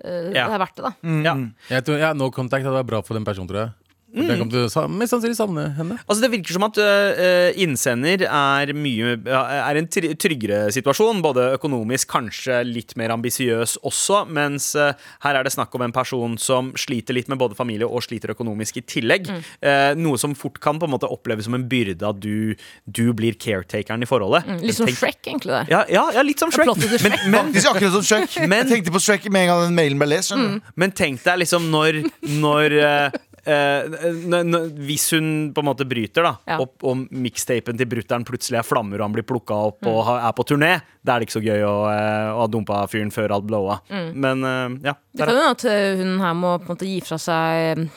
Speaker 2: Ja. Mm.
Speaker 4: det er verdt det, da.
Speaker 2: Ja.
Speaker 3: Jeg tror, ja, No contact hadde vært bra for den personen, tror jeg. Mm. Jeg kommer til å sa- mest sannsynlig savne henne.
Speaker 2: Altså Det virker som at ø, ø, innsender er mye Er en try- tryggere situasjon, både økonomisk, kanskje litt mer ambisiøs også, mens ø, her er det snakk om en person som sliter litt med både familie og sliter økonomisk i tillegg.
Speaker 4: Mm.
Speaker 2: Eh, noe som fort kan på en måte oppleves som en byrde at du, du blir caretakeren i forholdet.
Speaker 4: Mm, Litt sånn som
Speaker 2: Tenk-
Speaker 4: Shrek, egentlig. det
Speaker 2: Ja, ja, ja litt som Shrek.
Speaker 4: Plottet til Shrek.
Speaker 5: Faktisk akkurat som Shrek.
Speaker 2: Men- Mm.
Speaker 5: Jeg tenkte på Shrek med en gang den mailen ble lest. skjønner du?
Speaker 2: Men tenk deg liksom når, når eh, eh, n- n- Hvis hun på en måte bryter, da,
Speaker 4: Ja.
Speaker 2: og, og mixtapen til brutter'n plutselig er flammer og han blir plukka opp
Speaker 4: Mm.
Speaker 2: og ha- er på turné, da er det ikke så gøy å, eh, å ha dumpa fyren før alt blowa. Men eh, ja.
Speaker 4: Det Mm. kan
Speaker 2: der er-
Speaker 4: jo hende at øh, hun her må på en måte gi fra seg øh,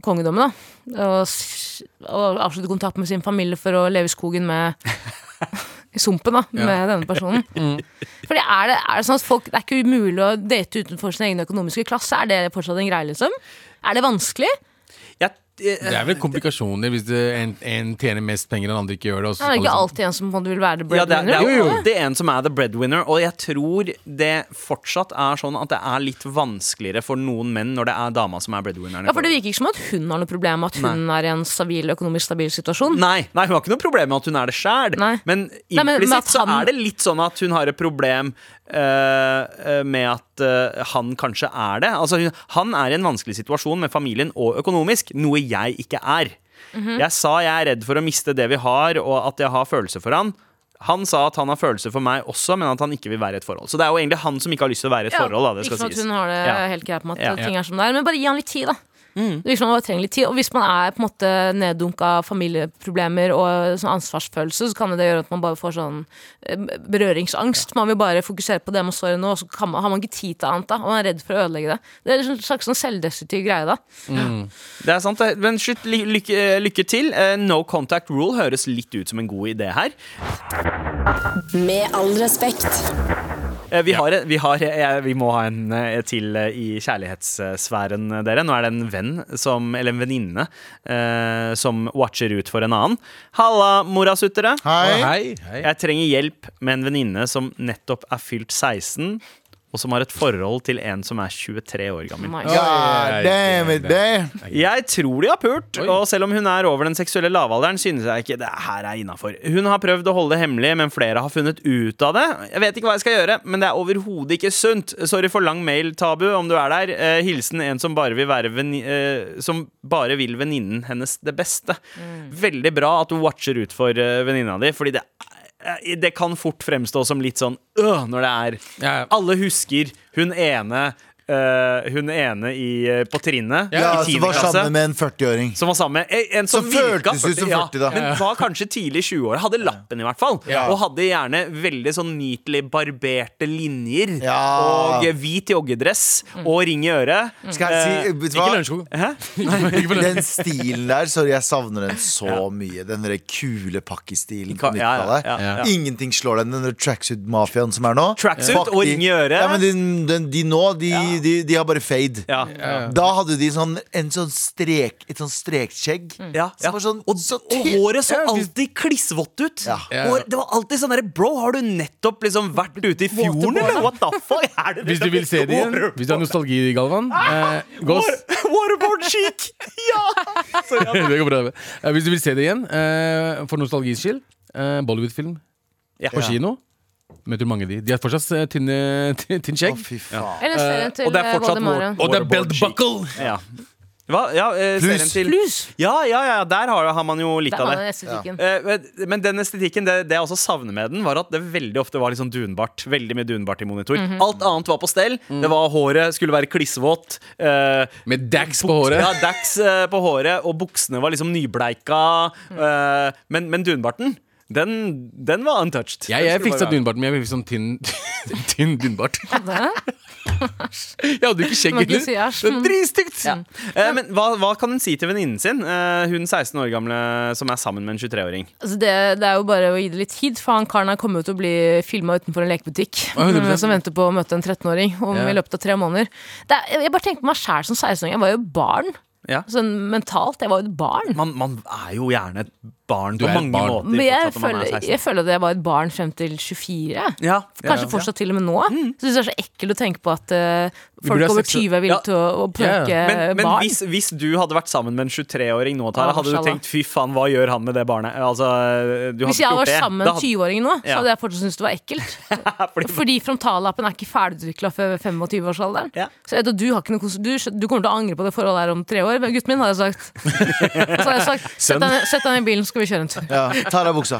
Speaker 4: kongedommen, da. Og, s- og avslutte kontakt med sin familie for å leve i skogen med I sumpen, da, med denne personen.
Speaker 2: Mm.
Speaker 4: Fordi er det, er det sånn at folk Det er ikke umulig å date utenfor sin egen økonomiske klasse? Er det fortsatt en greie, liksom? Er det vanskelig?
Speaker 2: Jeg, eh,
Speaker 3: Det er vel komplikasjoner hvis det, en, en tjener mest penger og den andre ikke gjør det. og
Speaker 4: Er
Speaker 3: så
Speaker 4: det
Speaker 3: skal
Speaker 4: ikke
Speaker 3: liksom-
Speaker 4: alltid en som på en måte vil være the
Speaker 2: ja, det, er, det
Speaker 4: breadwinner? på
Speaker 2: er jo
Speaker 4: en måte?
Speaker 2: alltid en som er the breadwinner, og jeg tror det fortsatt er sånn at det er litt vanskeligere for noen menn når det er dama som er breadwinneren. i
Speaker 4: Ja, for Det
Speaker 2: forholdet.
Speaker 4: virker ikke som at hun har noe problem med at hun er i en stabil, økonomisk stabil situasjon.
Speaker 2: Nei, nei, hun har ikke noe problem med at hun er det sjæl.
Speaker 4: Nei.
Speaker 2: Men
Speaker 4: Nei, men- men at
Speaker 2: implisitt så
Speaker 4: han-
Speaker 2: er det litt sånn at hun har et problem eh, eh, med at eh, han kanskje er det. Altså, hun, han er i en vanskelig situasjon med familien og økonomisk, noe jeg ikke er.
Speaker 4: Mhm.
Speaker 2: Jeg sa jeg er redd for å miste det vi har, og at jeg har følelser for han. Han sa at han har følelser for meg også, men at han ikke vil være i et forhold. Så det er jo egentlig han som ikke har lyst til å være i et forhold. Da, det
Speaker 4: ikke
Speaker 2: skal
Speaker 4: som at
Speaker 2: sies.
Speaker 4: hun har det
Speaker 2: Ja.
Speaker 4: helt greit med at
Speaker 2: Ja. Mm.
Speaker 4: ting er som det er, men bare gi han litt tid, da. Det virker som man bare trenger litt tid Og hvis man er på en måte neddunka av familieproblemer og sånn ansvarsfølelse, så kan det gjøre at man bare får sånn eh, berøringsangst. Man vil bare fokusere på det man står i nå, og så kan man, har man ikke tid til annet. da Og man er redd for å ødelegge det. Det er en slags sånn selvdestruktiv greie, da.
Speaker 2: Det er sant, det. men slutt, ly- lykke, lykke til. Eh, No contact rule høres litt ut som en god idé her.
Speaker 1: Med all respekt.
Speaker 2: Eh, Vi, har, vi, har, eh, vi må ha en eh, til eh, i kjærlighetssfæren, eh, dere. Nå er det en venn, som, eller en venninne, eh, som watcher ut for en annen. Halla, morasuttere.
Speaker 5: Hei.
Speaker 3: sånn, Hei, hei.
Speaker 2: Jeg trenger hjelp med en venninne som nettopp er fylt 16, og som har et forhold til en som er 23 år gammel.
Speaker 4: Nice.
Speaker 5: God damn it, babe.
Speaker 2: Jeg tror de har pult,
Speaker 3: Oi.
Speaker 2: og selv om hun er over den seksuelle lavalderen, synes jeg ikke det her er innafor. Hun har prøvd å holde det hemmelig, men flere har funnet ut av det. Jeg vet ikke hva jeg skal gjøre, men det er overhodet ikke sunt. Sorry for lang mail, Tabu, om du er der. Eh, hilsen en som bare vil være veni- eh, Som bare vil venninnen hennes det beste. Veldig bra at du watcher ut for eh, venninna di, fordi det eh, det kan fort fremstå som litt sånn øh, når det er
Speaker 3: Ja.
Speaker 2: Alle husker hun ene eh, Hun ene i, eh, på trinnet
Speaker 5: Ja,
Speaker 2: i
Speaker 5: som
Speaker 2: tiende
Speaker 5: var
Speaker 2: klasse.
Speaker 5: sammen altså, med en 40-åring.
Speaker 2: Som var sammen med en som,
Speaker 5: Som
Speaker 2: virka
Speaker 5: føltes ut som
Speaker 2: 40,
Speaker 5: 40, da.
Speaker 2: Men var kanskje tidlig i 20-åra. Hadde lappen, i hvert fall.
Speaker 3: Ja.
Speaker 2: Og hadde gjerne veldig sånn nytelig barberte linjer.
Speaker 5: Ja.
Speaker 2: Og eh, hvit joggedress og ring i øret.
Speaker 5: Skal
Speaker 2: Eh,
Speaker 5: jeg si, vet du hva?
Speaker 3: Ikke Lørenskog.
Speaker 2: Hæ?
Speaker 5: Den stilen der, sorry, jeg savner den så mye. Den der kule pakkestilen på
Speaker 2: Ja, ja,
Speaker 5: 90-tallet.
Speaker 2: ja, ja.
Speaker 5: Ingenting slår den. Den der tracksuit-mafiaen som er nå.
Speaker 2: Tracksuit
Speaker 5: Fuck
Speaker 2: og
Speaker 5: de.
Speaker 2: ring i øret.
Speaker 5: Ja, men de, de, de nå, de, de, de har bare fade.
Speaker 2: Ja.
Speaker 5: Da hadde de sånn, en sånn strek, et sånn strekskjegg.
Speaker 2: Ja, ja.
Speaker 5: Som var sånn,
Speaker 2: og,
Speaker 5: så
Speaker 2: og
Speaker 5: tynn.
Speaker 2: håret så
Speaker 5: Ja, hvis-
Speaker 2: alltid klissvått ut.
Speaker 5: Ja.
Speaker 2: Og det var alltid sånn derre Bro, har du nettopp liksom vært ute i fjorden, eller? What the fuck? Er det liksom
Speaker 3: Hvis du vil se det igjen, hvis du har nostalgi, Galvan eh, Gås
Speaker 2: Waterboard chic!
Speaker 3: Det går bra. det. Eh, Hvis du vil se det igjen, eh, for nostalgis skyld, eh, Bollywood-film
Speaker 2: Ja.
Speaker 3: på kino. Møter mange av de. De har fortsatt eh, tynne, tynn skjegg.
Speaker 5: Å, fy faen.
Speaker 4: Eller serien til
Speaker 2: Og det er
Speaker 4: eh,
Speaker 2: fortsatt
Speaker 4: Valdemara.
Speaker 2: Waterboard chic.
Speaker 3: buckle!
Speaker 2: Ja. Hva? Ja, eh,
Speaker 5: Plus.
Speaker 2: serien til
Speaker 4: Plus.
Speaker 2: Ja, ja, ja, der har, har man jo litt
Speaker 4: Det
Speaker 2: av
Speaker 4: er
Speaker 2: det.
Speaker 4: den estetikken.
Speaker 2: Eh, men- Men den estetikken, det, det jeg også savner med den, var at det veldig ofte var litt sånn dunbart. Veldig mye dunbart i monitor. Alt annet var på stell. Det var Håret skulle være klissvått. eh,
Speaker 3: Mm. Med Dax på håret.
Speaker 2: Ja, Dax eh, på håret, og buksene var liksom nybleika. eh, men, men dunbarten, den, den var untouched.
Speaker 3: Jeg, jeg
Speaker 2: Den skulle bare
Speaker 3: fiksa
Speaker 2: være-
Speaker 3: dunbarten min. Jeg fikk sånn tynn, tynn dunbart. Jeg hadde jo ikke skjegg
Speaker 4: Må ikke
Speaker 3: heller.
Speaker 4: si æsj,
Speaker 3: Det er
Speaker 4: men-
Speaker 3: Dritstygt!
Speaker 4: Ja.
Speaker 2: Eh, men hva, hva kan hun si til venninnen sin, eh, hun 16 år gamle som er sammen med en 23-åring?
Speaker 4: Altså det, det er jo bare å gi det litt tid, for han karen her kommer jo til å bli filma utenfor en lekebutikk.
Speaker 3: Ja, 100%.
Speaker 4: eh, Som venter på å møte en 13-åring om
Speaker 3: Ja.
Speaker 4: i løpet av tre måneder. Det er, jeg bare tenkte på meg sjæl som 16-åring. Jeg var jo barn.
Speaker 2: Ja.
Speaker 4: Sånn mentalt. Jeg var jo et barn.
Speaker 2: Man, man er jo gjerne et barn
Speaker 3: Du
Speaker 2: på
Speaker 3: er et
Speaker 2: mange
Speaker 3: barn.
Speaker 2: måter.
Speaker 4: Men jeg
Speaker 2: fortsatt når man er
Speaker 4: føler,
Speaker 2: 16.
Speaker 4: jeg føler at jeg var et barn frem til 24.
Speaker 2: ja, Mm.
Speaker 4: Kanskje fortsatt til og med nå. Så synes jeg det er så ekkelt å tenke på at eh,
Speaker 3: burde
Speaker 4: folk
Speaker 3: ha
Speaker 4: over
Speaker 3: seksuell-
Speaker 4: 20 er
Speaker 2: Ja.
Speaker 4: villige til å, å
Speaker 3: Ja, ja.
Speaker 4: plukke
Speaker 2: Men, men
Speaker 4: barn.
Speaker 2: hvis, hvis du hadde vært sammen med en 23-åring nå, Tara,
Speaker 4: Å,
Speaker 2: hadde du
Speaker 4: mashallah.
Speaker 2: tenkt 'fy faen, hva gjør han med det barnet'? Altså, du hadde
Speaker 4: Hvis jeg
Speaker 2: ikke
Speaker 4: var
Speaker 2: gjort det.
Speaker 4: sammen med
Speaker 2: Da
Speaker 4: en
Speaker 2: hadde-
Speaker 4: 20-åring nå, så
Speaker 2: Ja.
Speaker 4: hadde jeg fortsatt syntes det var ekkelt.
Speaker 2: Fordi-
Speaker 4: Fordi frontallappen er ikke ferdigutvikla før 25-årsalderen.
Speaker 2: Ja.
Speaker 4: Så jeg vet at du, har ikke noe, kons- du, skj- du kommer til å angre på det forholdet her om tre år, men gutten min, hadde jeg sagt. Så hadde jeg sagt Sett deg ned- sett deg ned i bilen, så skal vi kjøre en tur.
Speaker 5: Ja, tar av buksa.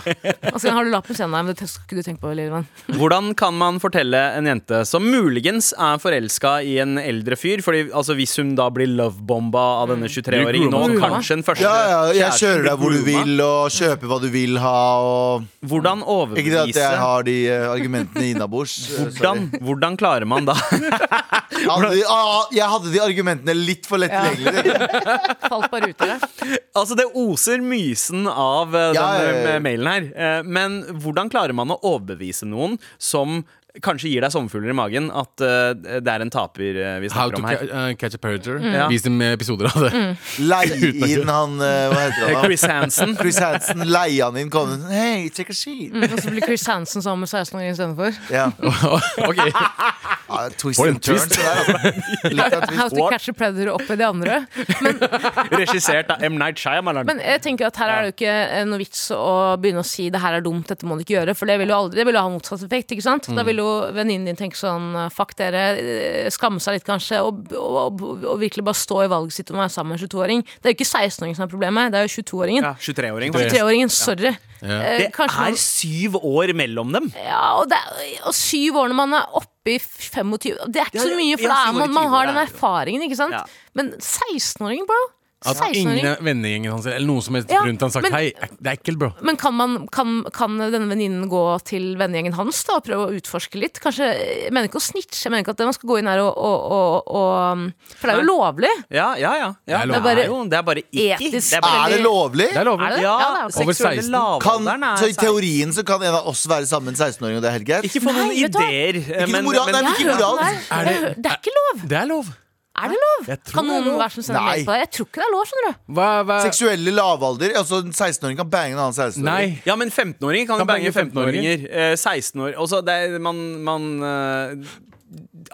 Speaker 4: Og så har du lappen sen, nei, men det skal ikke du tenke på, lille venn.
Speaker 2: Hvordan kan man fortelle en jente som muligens er forelska i en eldre fyr Fordi altså, Hvis hun da blir lovebomba av denne 23-åringen nå,
Speaker 3: Mm. Blir grooma.
Speaker 2: kanskje den første
Speaker 5: Ja, ja, jeg kjører deg hvor du
Speaker 2: blir grooma.
Speaker 5: vil, og kjøper hva du vil ha, og
Speaker 2: Hvordan
Speaker 5: Ikke det at
Speaker 2: overbevise
Speaker 5: jeg har de eh, argumentene innabords. eh,
Speaker 2: hvordan, hvordan klarer man da
Speaker 5: sorry. Hadde de- ah, Jeg hadde de argumentene litt for lett tilgjengelig.
Speaker 4: Falt bare ut av det.
Speaker 2: Altså, det oser mysen av eh,
Speaker 5: Ja,
Speaker 2: den
Speaker 5: ja, ja.
Speaker 2: eh, mailen her. Eh, Men hvordan klarer man å overbevise noen som kanskje gir deg sommerfugler i magen, at eh, det er en taper eh, vi
Speaker 3: How
Speaker 2: snakker
Speaker 3: to
Speaker 2: om
Speaker 3: ca
Speaker 2: her?
Speaker 3: uh, catch a predator.
Speaker 4: Mm.
Speaker 2: Ja.
Speaker 3: Vis dem eh, episoder av det.
Speaker 5: Leie inn han eh, Hva
Speaker 2: Eh,
Speaker 5: heter han? da?
Speaker 2: Chris Hansen.
Speaker 5: Chris Hansen. Leie han inn, kom inn. Hei, take a seat.
Speaker 4: Og så blir Chris Hansen sammen med 16-åringen istedenfor.
Speaker 5: Ja.
Speaker 3: ok,
Speaker 5: Ja, twist
Speaker 3: For en
Speaker 5: and turn.
Speaker 3: twist.
Speaker 5: så der, altså. Litt av
Speaker 4: How
Speaker 5: twist.
Speaker 4: to catch a predator opp i de andre.
Speaker 2: Regissert av M. Night Shyamalan.
Speaker 4: Men jeg tenker at her er det jo ikke eh, noe vits å begynne å si det her er dumt, dette må du ikke gjøre. For det vil jo aldri, det vil jo ha motsatt effekt. ikke sant?
Speaker 2: Mm.
Speaker 4: Da vil jo venninnen din tenke sånn fuck dere, eh, skamme seg litt kanskje, og, og, og, og virkelig bare stå i valget sitt om å være sammen med en 22-åring. Det er jo ikke 16-åringen som er problemet, det er jo 22-åringen.
Speaker 2: Ja, 23-åring. faktisk.
Speaker 4: 23-åringen, sorry. Eh,
Speaker 2: Det
Speaker 4: kanskje man-
Speaker 2: er syv år mellom dem.
Speaker 4: ja, og, det, er- og syv år når man er oppe i 25 Det er ikke
Speaker 2: Ja,
Speaker 4: så
Speaker 2: ja,
Speaker 4: mye, for
Speaker 2: ja,
Speaker 4: da
Speaker 2: syv
Speaker 4: er
Speaker 2: år i
Speaker 4: man, man
Speaker 2: 20
Speaker 4: har den
Speaker 2: er-
Speaker 4: erfaringen, ikke sant?
Speaker 2: Ja.
Speaker 4: Men 16-åringen, bro.
Speaker 3: At ingen
Speaker 4: 16-åring.
Speaker 3: av vennegjengen hans eller noen som helst
Speaker 4: Ja,
Speaker 3: rundt han sagt
Speaker 4: men-
Speaker 3: hei, ek- det er ekkelt, bro.
Speaker 4: Men kan, man, kan, kan denne venninnen gå til vennegjengen hans da, og prøve å utforske litt? Kanskje, Jeg mener ikke å snitche, jeg mener ikke at man skal gå inn her og, og, og, og For det er jo lovlig.
Speaker 2: Ja, ja, ja. ja.
Speaker 3: Det er lov.
Speaker 2: bare, det er bare ikke.
Speaker 4: Etisk
Speaker 2: Det er bare,
Speaker 5: Er det lovlig?
Speaker 3: Det er lov.
Speaker 4: Er det det?
Speaker 2: ja,
Speaker 4: Ja, det er
Speaker 3: Over
Speaker 2: over 16.
Speaker 3: 16.
Speaker 5: Kan,
Speaker 2: Lavalderen er
Speaker 5: så i
Speaker 2: 16.
Speaker 5: teorien så kan en av oss være sammen med en 16-åring, og det er helt greit?
Speaker 2: Ikke få noen
Speaker 4: Nei, vet du hva?
Speaker 2: ideer. eh,
Speaker 5: noe moral- nei, men ikke
Speaker 4: Jeg har hørt om
Speaker 5: moral.
Speaker 4: det her.
Speaker 3: Er
Speaker 4: Jeg
Speaker 3: det-
Speaker 4: har hørt- Det er ikke lov!
Speaker 3: Det er lov.
Speaker 4: Er det lov?
Speaker 3: Jeg tror
Speaker 4: Kan
Speaker 3: det er
Speaker 4: noen
Speaker 3: lov.
Speaker 4: være som sender
Speaker 5: Nei.
Speaker 4: mail på deg? Jeg tror ikke det er lov, skjønner du.
Speaker 3: Hva, hva?
Speaker 5: Seksuelle lavalder? Altså, en 16-åring kan bange en annen 16-åring?
Speaker 3: Nei.
Speaker 2: Ja, men 15-åringer kan jo
Speaker 3: Kan
Speaker 2: bange
Speaker 3: bange 15-åringer.
Speaker 2: 15-åringer. Eh, 16-år Også det er, man, man eh,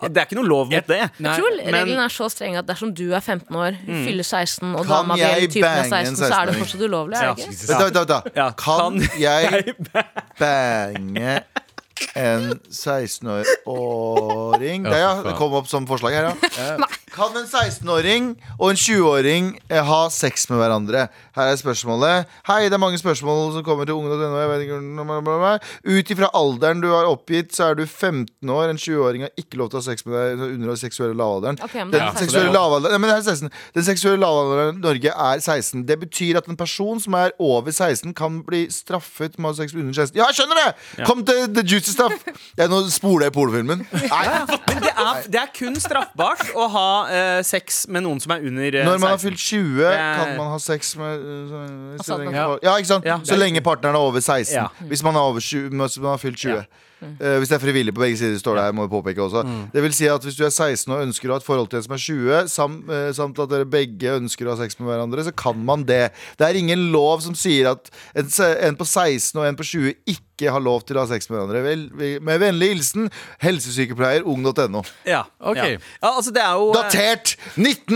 Speaker 2: Det er ikke noe lov mot det.
Speaker 3: Nei.
Speaker 4: Jeg tror
Speaker 2: men-
Speaker 4: reglene er så strenge at dersom du er 15 år, fyller 16 og
Speaker 5: Kan
Speaker 4: dama di
Speaker 5: jeg
Speaker 4: eller typen er
Speaker 5: bange en
Speaker 4: 16, så er det
Speaker 5: 16-åring?
Speaker 4: fortsatt ulovlig. Er det ikke?
Speaker 5: Vent, da, vent, da, vent, da.
Speaker 2: Ja,
Speaker 5: Kan
Speaker 2: kan
Speaker 5: jeg bange en 16-åring
Speaker 3: Ja,
Speaker 5: Det ja,
Speaker 3: for faen.
Speaker 5: det kom opp som forslag her, ja. Kan en 16-åring og en 20-åring eh, ha sex med hverandre? Her er spørsmålet. Hei, det er mange spørsmål som kommer til ungdom.no. jeg vet ikke om- bla, bla, bla. Ut ifra alderen du har oppgitt, så er du 15 år. En 20-åring har ikke lov til å ha sex med deg under den seksuelle lavalderen.
Speaker 4: Ok, men da
Speaker 5: Den
Speaker 4: er det 16.
Speaker 5: seksuelle lavalderen Nei, men det er 16. Den seksuelle lavalderen i Norge er 16. Det betyr at en person som er over 16, kan bli straffet med å ha sex med under 16. Ja, jeg skjønner det! Kom til the juicy stuff! Jeg, nå spoler jeg pornofilmen. Nei,
Speaker 2: Men det er, det er kun straffbart å ha eh, sex med noen som er under eh,
Speaker 5: Når man har
Speaker 2: 16.
Speaker 5: fylt 20, kan man ha sex med uh, så, så
Speaker 4: Altså, ja.
Speaker 5: lenge,
Speaker 4: Mm.
Speaker 5: par- Ja, ikke sant?
Speaker 2: Ja.
Speaker 5: Så lenge partneren er over 16.
Speaker 2: Ja.
Speaker 5: Hvis man har, over 20, hvis man har fylt 20. Eh, hvis det er frivillig på begge sider, står det her. må jeg påpeke også
Speaker 2: Mm.
Speaker 5: Det vil si at Hvis du er 16 og ønsker å ha et forhold til en som er 20, sam, eh, samt at dere begge ønsker å ha sex med hverandre, så kan man det. Det er ingen lov som sier at en, se- en på 16 og en på 20 ikke har lov til å ha sex med hverandre. Vel, vi- med vennlig hilsen helsesykepleier ung.no.
Speaker 2: Ja,
Speaker 3: Ok.
Speaker 2: ja. ja, altså det er jo eh,
Speaker 5: Datert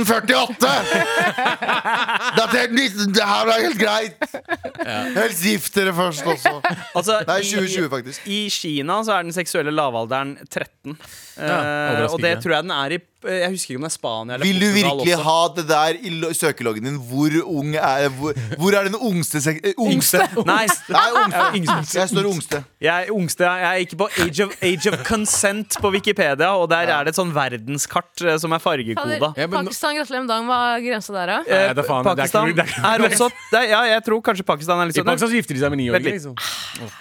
Speaker 5: 1948! Datert 19... Det her er helt greit! Helst gift dere først også.
Speaker 2: altså,
Speaker 5: Nei,
Speaker 2: i-
Speaker 5: 2020, faktisk.
Speaker 2: I Kina Kina så er den seksuelle lavalderen 13. Eh,
Speaker 3: overraskende.
Speaker 2: og det tror jeg den er i eh, Jeg husker ikke om det er Spania eller
Speaker 5: Vil du
Speaker 2: Portugal
Speaker 5: virkelig
Speaker 2: også.
Speaker 5: ha det der i lo- søkeloggen din? Hvor ung er Hvor, hvor er den ungste sek... eh, Ungste?
Speaker 2: Nei,
Speaker 5: Nei, ungste.
Speaker 2: yngste.
Speaker 5: Jeg står ungste.
Speaker 2: Jeg er ungste, jeg er ikke på Age of, age of Consent på Wikipedia, og der er det et sånn verdenskart eh, som er fargekoda.
Speaker 3: Ja, men nå-
Speaker 4: Pakistan, gratulerer med dagen. Hva er grensa der, da?
Speaker 2: Eh,
Speaker 3: Nei, det er faen, det er ikke-
Speaker 2: Pakistan
Speaker 3: det er ikke-
Speaker 2: er også det, er- Ja, jeg tror kanskje Pakistan er litt
Speaker 3: I
Speaker 2: sånn.
Speaker 3: Pakistan så gifter de seg med niåringer.
Speaker 2: Vent litt.
Speaker 3: Liksom.
Speaker 4: Ah.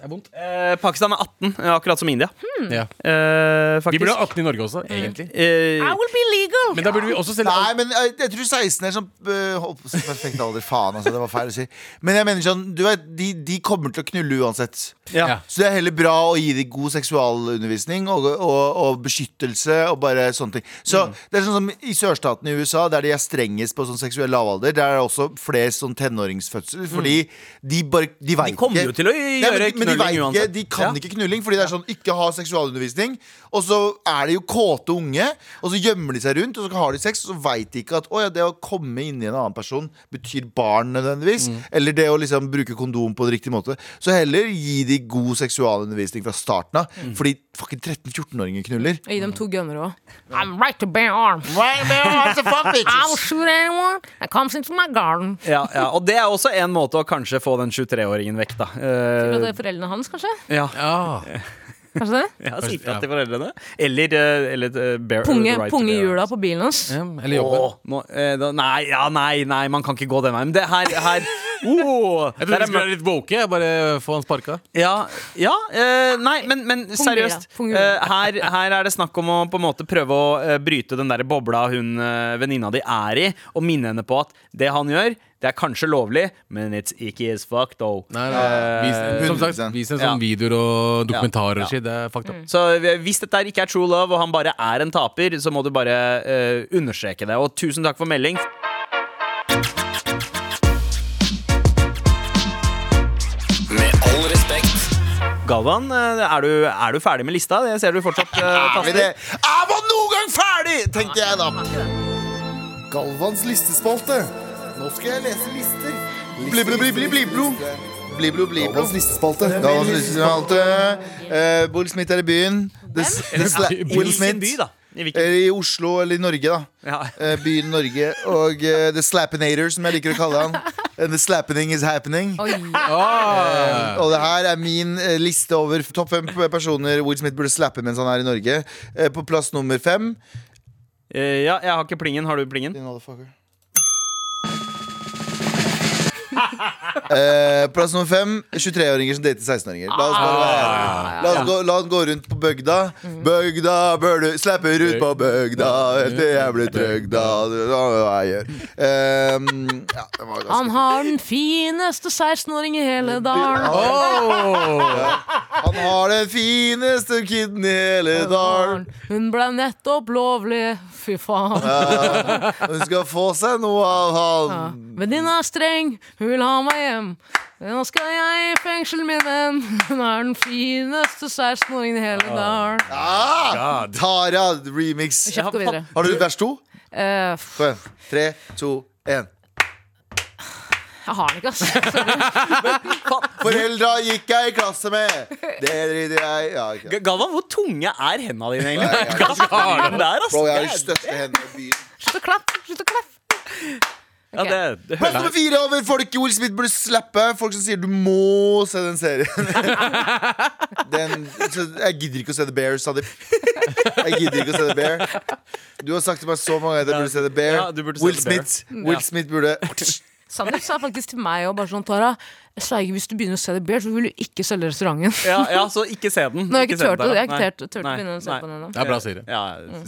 Speaker 3: Det er vondt.
Speaker 2: Eh, Pakistan er 18, eh, akkurat som India.
Speaker 4: Hmm.
Speaker 3: Ja.
Speaker 2: Eh,
Speaker 3: Vi
Speaker 2: faktisk.
Speaker 3: burde ha 18 i Norge også, egentlig.
Speaker 2: Eh,
Speaker 4: I will be legal!
Speaker 3: Men da burde vi også selge
Speaker 5: Nei, men jeg, jeg tror 16 er sånn øh, holdt på å si perfekt alder. Faen, altså. Det var feil å si. Men jeg mener sånn, du vet, de, de kommer til å knulle uansett.
Speaker 2: ja.
Speaker 3: Ja.
Speaker 5: Så det er heller bra å gi dem god seksualundervisning og, og, og beskyttelse og bare sånne ting. Så
Speaker 2: Mm.
Speaker 5: det er sånn som I sørstaten i USA, der de er strengest på sånn seksuell lavalder, der er det også flest sånn tenåringsfødsler. Fordi de bare De veit
Speaker 2: Mm. De kommer jo til å
Speaker 5: Nei, men,
Speaker 2: gjøre
Speaker 5: men de
Speaker 2: knulling
Speaker 5: vet ikke,
Speaker 2: uansett.
Speaker 5: de kan ikke knulling, fordi det er sånn ikke ha seksualundervisning. Og så er det jo kåte unge, og så gjemmer de seg rundt, og så har de sex, og så veit de ikke at å, ja, det å komme inn i en annen person betyr barn nødvendigvis. Eller det å liksom bruke kondom på en riktig måte. Så heller gi de god seksualundervisning fra starten av, fordi fucking 13-14-åringer knuller.
Speaker 4: Og gi dem to gunner òg. I'm right to bear arms. I'll shoot anyone that comes into my garden.
Speaker 2: Ja, ja, og det er også en måte å kanskje få den 23-åringen vekk, da.
Speaker 4: Tror du
Speaker 2: Eh,
Speaker 4: det er foreldrene hans, kanskje?
Speaker 2: ja,
Speaker 3: Ja.
Speaker 4: Kanskje det?
Speaker 2: ja, si fra til foreldrene. Eller, eh, eller eh, bear,
Speaker 4: Punge,
Speaker 2: right to
Speaker 4: punge
Speaker 2: bear
Speaker 4: hjula
Speaker 2: arms.
Speaker 4: på bilen hans.
Speaker 3: Eller jobben.
Speaker 2: Åh, nå, eh, da, nei, ja, nei, nei, man kan ikke gå den veien. Men det her, her oh, der er
Speaker 3: Jeg trodde vi skulle være litt woke. jeg. Bare få han sparka.
Speaker 2: Ja, ja eh, nei, men, men seriøst.
Speaker 4: Pungira.
Speaker 2: eh, her, her er det snakk om å på en måte prøve å eh, bryte den der bobla hun eh, venninna di er i, og minne henne på at det han gjør, det er kanskje lovlig, men it's ikke is fuck, though.
Speaker 3: Nei, nei. Vis, som sagt,
Speaker 5: 100%.
Speaker 3: vis en
Speaker 2: Ja.
Speaker 3: sånn videoer og dokumentarer
Speaker 2: Ja. Mm.
Speaker 3: og shit. Det er fucked up.
Speaker 2: Så hvis dette her ikke er true love, og han bare er en taper, så må du bare eh, understreke det. Og tusen takk for melding.
Speaker 9: Med all respekt.
Speaker 2: Galvan, eh, er, du, er du ferdig med lista? Jeg ser du fortsatt eh,
Speaker 5: Men
Speaker 2: taster.
Speaker 5: det Jeg var noen gang ferdig, tenkte jeg da.
Speaker 9: Galvans listespalte. Nå skal jeg lese lister.
Speaker 5: Bliblo-bliblo-bliblo. Bliblo-bliblo.
Speaker 9: Galvans listespalte.
Speaker 5: Da var det lystespalte. Eh, Will Smith er i byen. Det, det sla-
Speaker 2: I
Speaker 5: Will
Speaker 2: hvilken by,
Speaker 5: Smith
Speaker 2: da? I hvilken?
Speaker 5: eller i Oslo eller i Norge, da.
Speaker 2: Ja.
Speaker 5: Eh, Byen Norge. Og eh, The Slappinator, som jeg liker å kalle han. And the slapping is happening.
Speaker 4: Oi.
Speaker 5: Og det her er min eh, liste over topp fem personer Will Smith burde slappe mens han er i Norge. Eh, På plass nummer fem
Speaker 2: Eh, ja, jeg har ikke plingen. Har du plingen?
Speaker 5: Din motherfucker. Eh, plass nummer fem 23-åringer som dater 16-åringer. La oss bare være ærlige. La, oss gå- la oss gå rundt på bygda. Bygda bør du slappe ut på bygda etter jeg ble trygda. Det er hva jeg gjør. Ehm, ja, det var ganske
Speaker 4: Han har den fineste 16-åring i hele dalen.
Speaker 5: Han har den fineste kiden i hele dalen.
Speaker 4: Hun ble nettopp lovlig. Fy faen.
Speaker 5: Hun skal få seg noe av
Speaker 4: Ja.
Speaker 5: han.
Speaker 4: Venninna er streng, hun vil ha meg hjem. Nå skal jeg i fengsel, min venn. Hun er den fineste 16-åringen i hele dalen.
Speaker 5: Ah, Tara remix.
Speaker 4: Kjapt gå videre.
Speaker 5: Har du vers to?
Speaker 4: Eh, f-
Speaker 5: Kom igjen. Tre, to, én.
Speaker 4: jeg har den ikke, ass.
Speaker 5: Foreldra gikk jeg i klasse med. Det driter jeg ja, ok.
Speaker 2: G- Galvan, hvor tunge er hendene dine, egentlig?
Speaker 5: Nei, jeg-
Speaker 2: Hva er det der,
Speaker 5: Bro,
Speaker 2: altså?
Speaker 5: jeg har de største hendene i byen.
Speaker 4: Slutt å klappe! Slutt å klappe!
Speaker 2: Ja, det, det
Speaker 5: Plass
Speaker 2: hører
Speaker 5: nummer fire over folk Will Smith burde slappe. Folk som sier du må se den serien. Den, så jeg gidder ikke å se The Bear, sa de. Jeg gidder ikke å se The Bear. Du har sagt til meg så mange ganger at jeg burde se The Bear.
Speaker 2: Ja, du burde se
Speaker 5: Will
Speaker 2: The Bear.
Speaker 5: Smith Will Smith burde
Speaker 4: Sander sa faktisk til meg og bare sånn, Tara, jeg sverger hvis du begynner å se det Bear, så vil du ikke selge restauranten.
Speaker 2: ja, ja, så ikke se den.
Speaker 4: Nå har jeg ikke
Speaker 2: se den
Speaker 4: tørt,
Speaker 2: der,
Speaker 4: å- jeg har
Speaker 2: da.
Speaker 4: ikke tørt, tørt å
Speaker 2: Nei,
Speaker 4: begynne å se
Speaker 2: nei.
Speaker 4: på den ennå.
Speaker 3: Det er bra serie.
Speaker 2: Ja,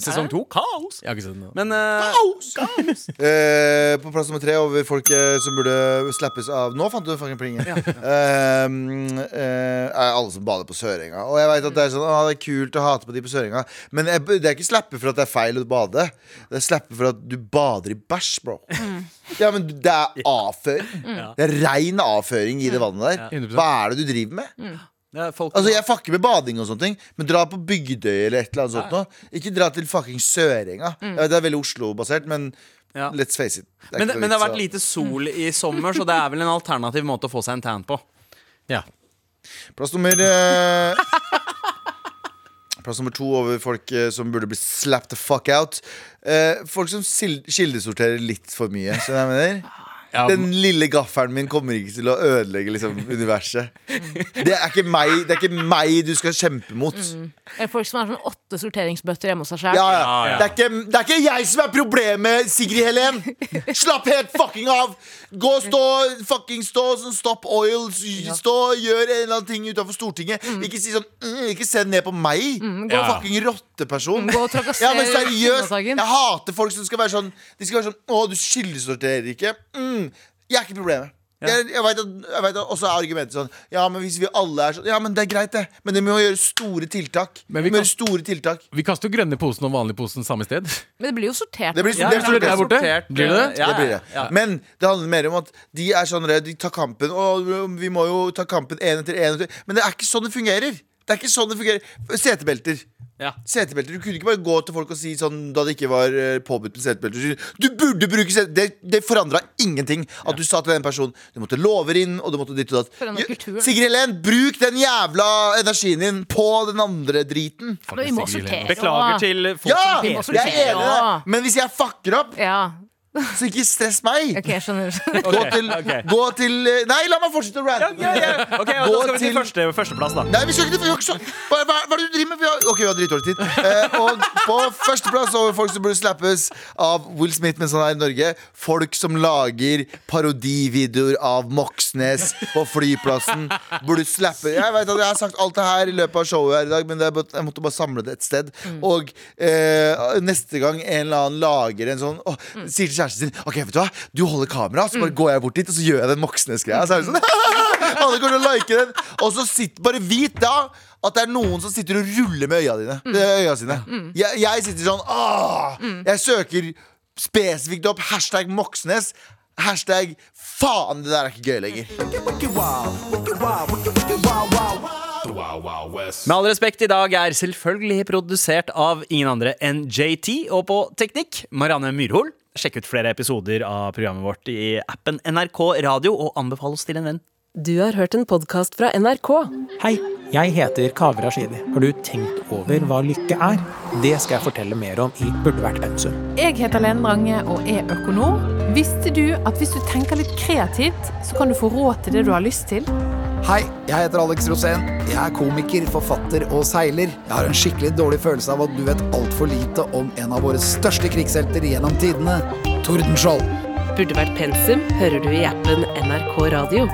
Speaker 2: sesong to, kaos!
Speaker 3: Jeg har ikke sett den.
Speaker 2: Men eh,
Speaker 5: Eh, På plass nummer tre over folk eh, som burde slappes av Nå fant du fucking plingen. Eh, eh, er alle som bader på Sørenga. Og jeg vet at det er sånn ah, det er kult å hate på de på Sørenga, men jeg, det er ikke slappe for at det er feil å bade. Det er slappe for at du bader i bæsj, bro. Ja, men det er avføring. Det er rein avføring i det vannet der.
Speaker 3: 100%.
Speaker 5: Hva er det du driver med?
Speaker 2: det er folk
Speaker 5: Altså, Jeg fucker med bading og sånne ting, men dra på Bygdøy eller et eller annet sånt. nå. Ikke dra til fucking Sørenga. Jeg vet, det er veldig Oslo-basert, men
Speaker 2: Mm. Ja.
Speaker 5: let's face it. Det er
Speaker 2: men,
Speaker 5: ikke noe
Speaker 2: men det har
Speaker 5: vits å-
Speaker 2: vært lite sol i sommer, så det er vel en alternativ måte å få seg en tan på.
Speaker 3: Ja.
Speaker 5: Plass nummer eh, Plass nummer to over folk eh, som burde bli slapped the fuck out. Eh, folk som sil- kildesorterer litt for mye. Skjønner du hva jeg mener?
Speaker 3: Ja,
Speaker 5: Den lille gaffelen min kommer ikke til å ødelegge liksom, universet.
Speaker 2: Mm.
Speaker 5: Det er, ikke meg, det er ikke meg du skal kjempe mot.
Speaker 4: Eller folk som har sånn åtte sorteringsbøtter hjemme hos seg sjøl.
Speaker 5: Ja, ja. Det, er ikke, det er ikke jeg som er problemet, Sigrid Helen! Slapp helt fucking av! Gå og stå, fucking stå, sånn Stop Oil, s- stå, gjør en eller annen ting utenfor Stortinget. Ikke si sånn mm, Ikke se ned på meg! gå
Speaker 3: Ja.
Speaker 5: fucking rotteperson.
Speaker 4: Mm, Gå og
Speaker 5: Ja,
Speaker 4: trakassere
Speaker 5: men seriøst,
Speaker 4: kvinnedagen.
Speaker 5: jeg hater folk som skal være sånn De skal være sånn Å, du skyldesorterer ikke. Mm, jeg er ikke problemet. Jeg, jeg vet at, jeg vet at Og så er argumentet sånn Ja, men hvis vi alle er sånn Ja, men det er greit, det. Men det må gjøre store tiltak.
Speaker 3: Men
Speaker 5: vi
Speaker 3: vi
Speaker 5: må
Speaker 3: kan-
Speaker 5: gjøre store tiltak.
Speaker 3: Vi kaster jo grønne posen og vanlige posen samme sted.
Speaker 4: Men det blir jo sortert.
Speaker 5: Det blir,
Speaker 2: Ja,
Speaker 5: det
Speaker 2: ja,
Speaker 5: blir
Speaker 2: det
Speaker 3: der borte?
Speaker 2: sortert,
Speaker 3: Blir det det?
Speaker 2: ja,
Speaker 5: det blir det.
Speaker 2: ja.
Speaker 5: Men det handler mer om at de er sånn redde, de tar kampen Og vi må jo ta kampen en etter en etter Men det er ikke sånn det fungerer Det er ikke sånn det fungerer Setebelter
Speaker 2: Ja.
Speaker 5: Setebelter, du kunne ikke bare gå til folk og si sånn Da det ikke var eh, påbudt med setebelter så, Du burde bruke setebelter Det, det forandret ingenting At du sa til den personen Du måtte lover inn Og du måtte ditt og datt
Speaker 4: Forandret kulturen.
Speaker 5: Sigrid Helen, bruk den jævla energien din På den andre driten
Speaker 4: Men vi må
Speaker 3: Sigrid
Speaker 4: sortere.
Speaker 2: Beklager
Speaker 4: også.
Speaker 2: til folk
Speaker 5: Ja,
Speaker 2: som
Speaker 5: jeg
Speaker 2: heter
Speaker 5: er enig i det
Speaker 4: Ja.
Speaker 5: Men hvis jeg fucker opp,
Speaker 4: Ja.
Speaker 5: så ikke stress meg
Speaker 4: Ok, jeg skjønner.
Speaker 5: Gå til,
Speaker 2: ok.
Speaker 5: gå til eh, Nei, la meg fortsette å rante.
Speaker 2: Ja, ja. Ok, men
Speaker 5: Gå
Speaker 2: Da skal vi til
Speaker 5: til-
Speaker 2: første, førsteplass, da.
Speaker 5: Nei, vi skal ikke til vi har ikke så- hva, hva, hva er det du driver med? Vi har, ok, vi har dritdårlig tid. Eh, og på førsteplass over folk som burde slappes av Will Smith mens han er i Norge, folk som lager parodivideoer av Moxnes på flyplassen, burde slappe Jeg vet at jeg har sagt alt det her i løpet av showet her i dag, men det er bare, jeg måtte bare samle det et sted. Og eh, neste gang en eller annen lager en sånn åh, Sier til kjæresten sin Ok, vet du hva, du holder kamera, så bare går jeg bort dit, og så gjør jeg den Moxnes-greia. Så er det sånn alle kommer til å like den. Og så sitt, bare vit da at det er noen som sitter og ruller med øya dine. eh, Øya sine. Jeg, jeg sitter sånn Åh! Jeg søker spesifikt opp hashtag Moxnes. Hashtag faen, det der er ikke gøy lenger.
Speaker 2: Med all respekt, i dag er selvfølgelig produsert av ingen andre enn JT, og på teknikk Marianne Myrhol. Sjekk ut flere episoder av programmet vårt i appen NRK Radio, og anbefal oss til en venn.
Speaker 1: Du har hørt en podkast fra NRK.
Speaker 10: Hei, jeg heter Kaveh Rashidi. Har du tenkt over hva lykke er? Det skal jeg fortelle mer om i Burde vært pensum.
Speaker 11: Jeg heter Lene Drange og er økonom. Visste du at hvis du tenker litt kreativt, så kan du få råd til det du har lyst til?
Speaker 10: Hei, jeg heter Alex Rosén. Jeg er komiker, forfatter og seiler. Jeg har en skikkelig dårlig følelse av at du vet altfor lite om en av våre største krigshelter gjennom tidene, Tordenskjold.
Speaker 1: Burde vært pensum hører du i appen NRK Radio.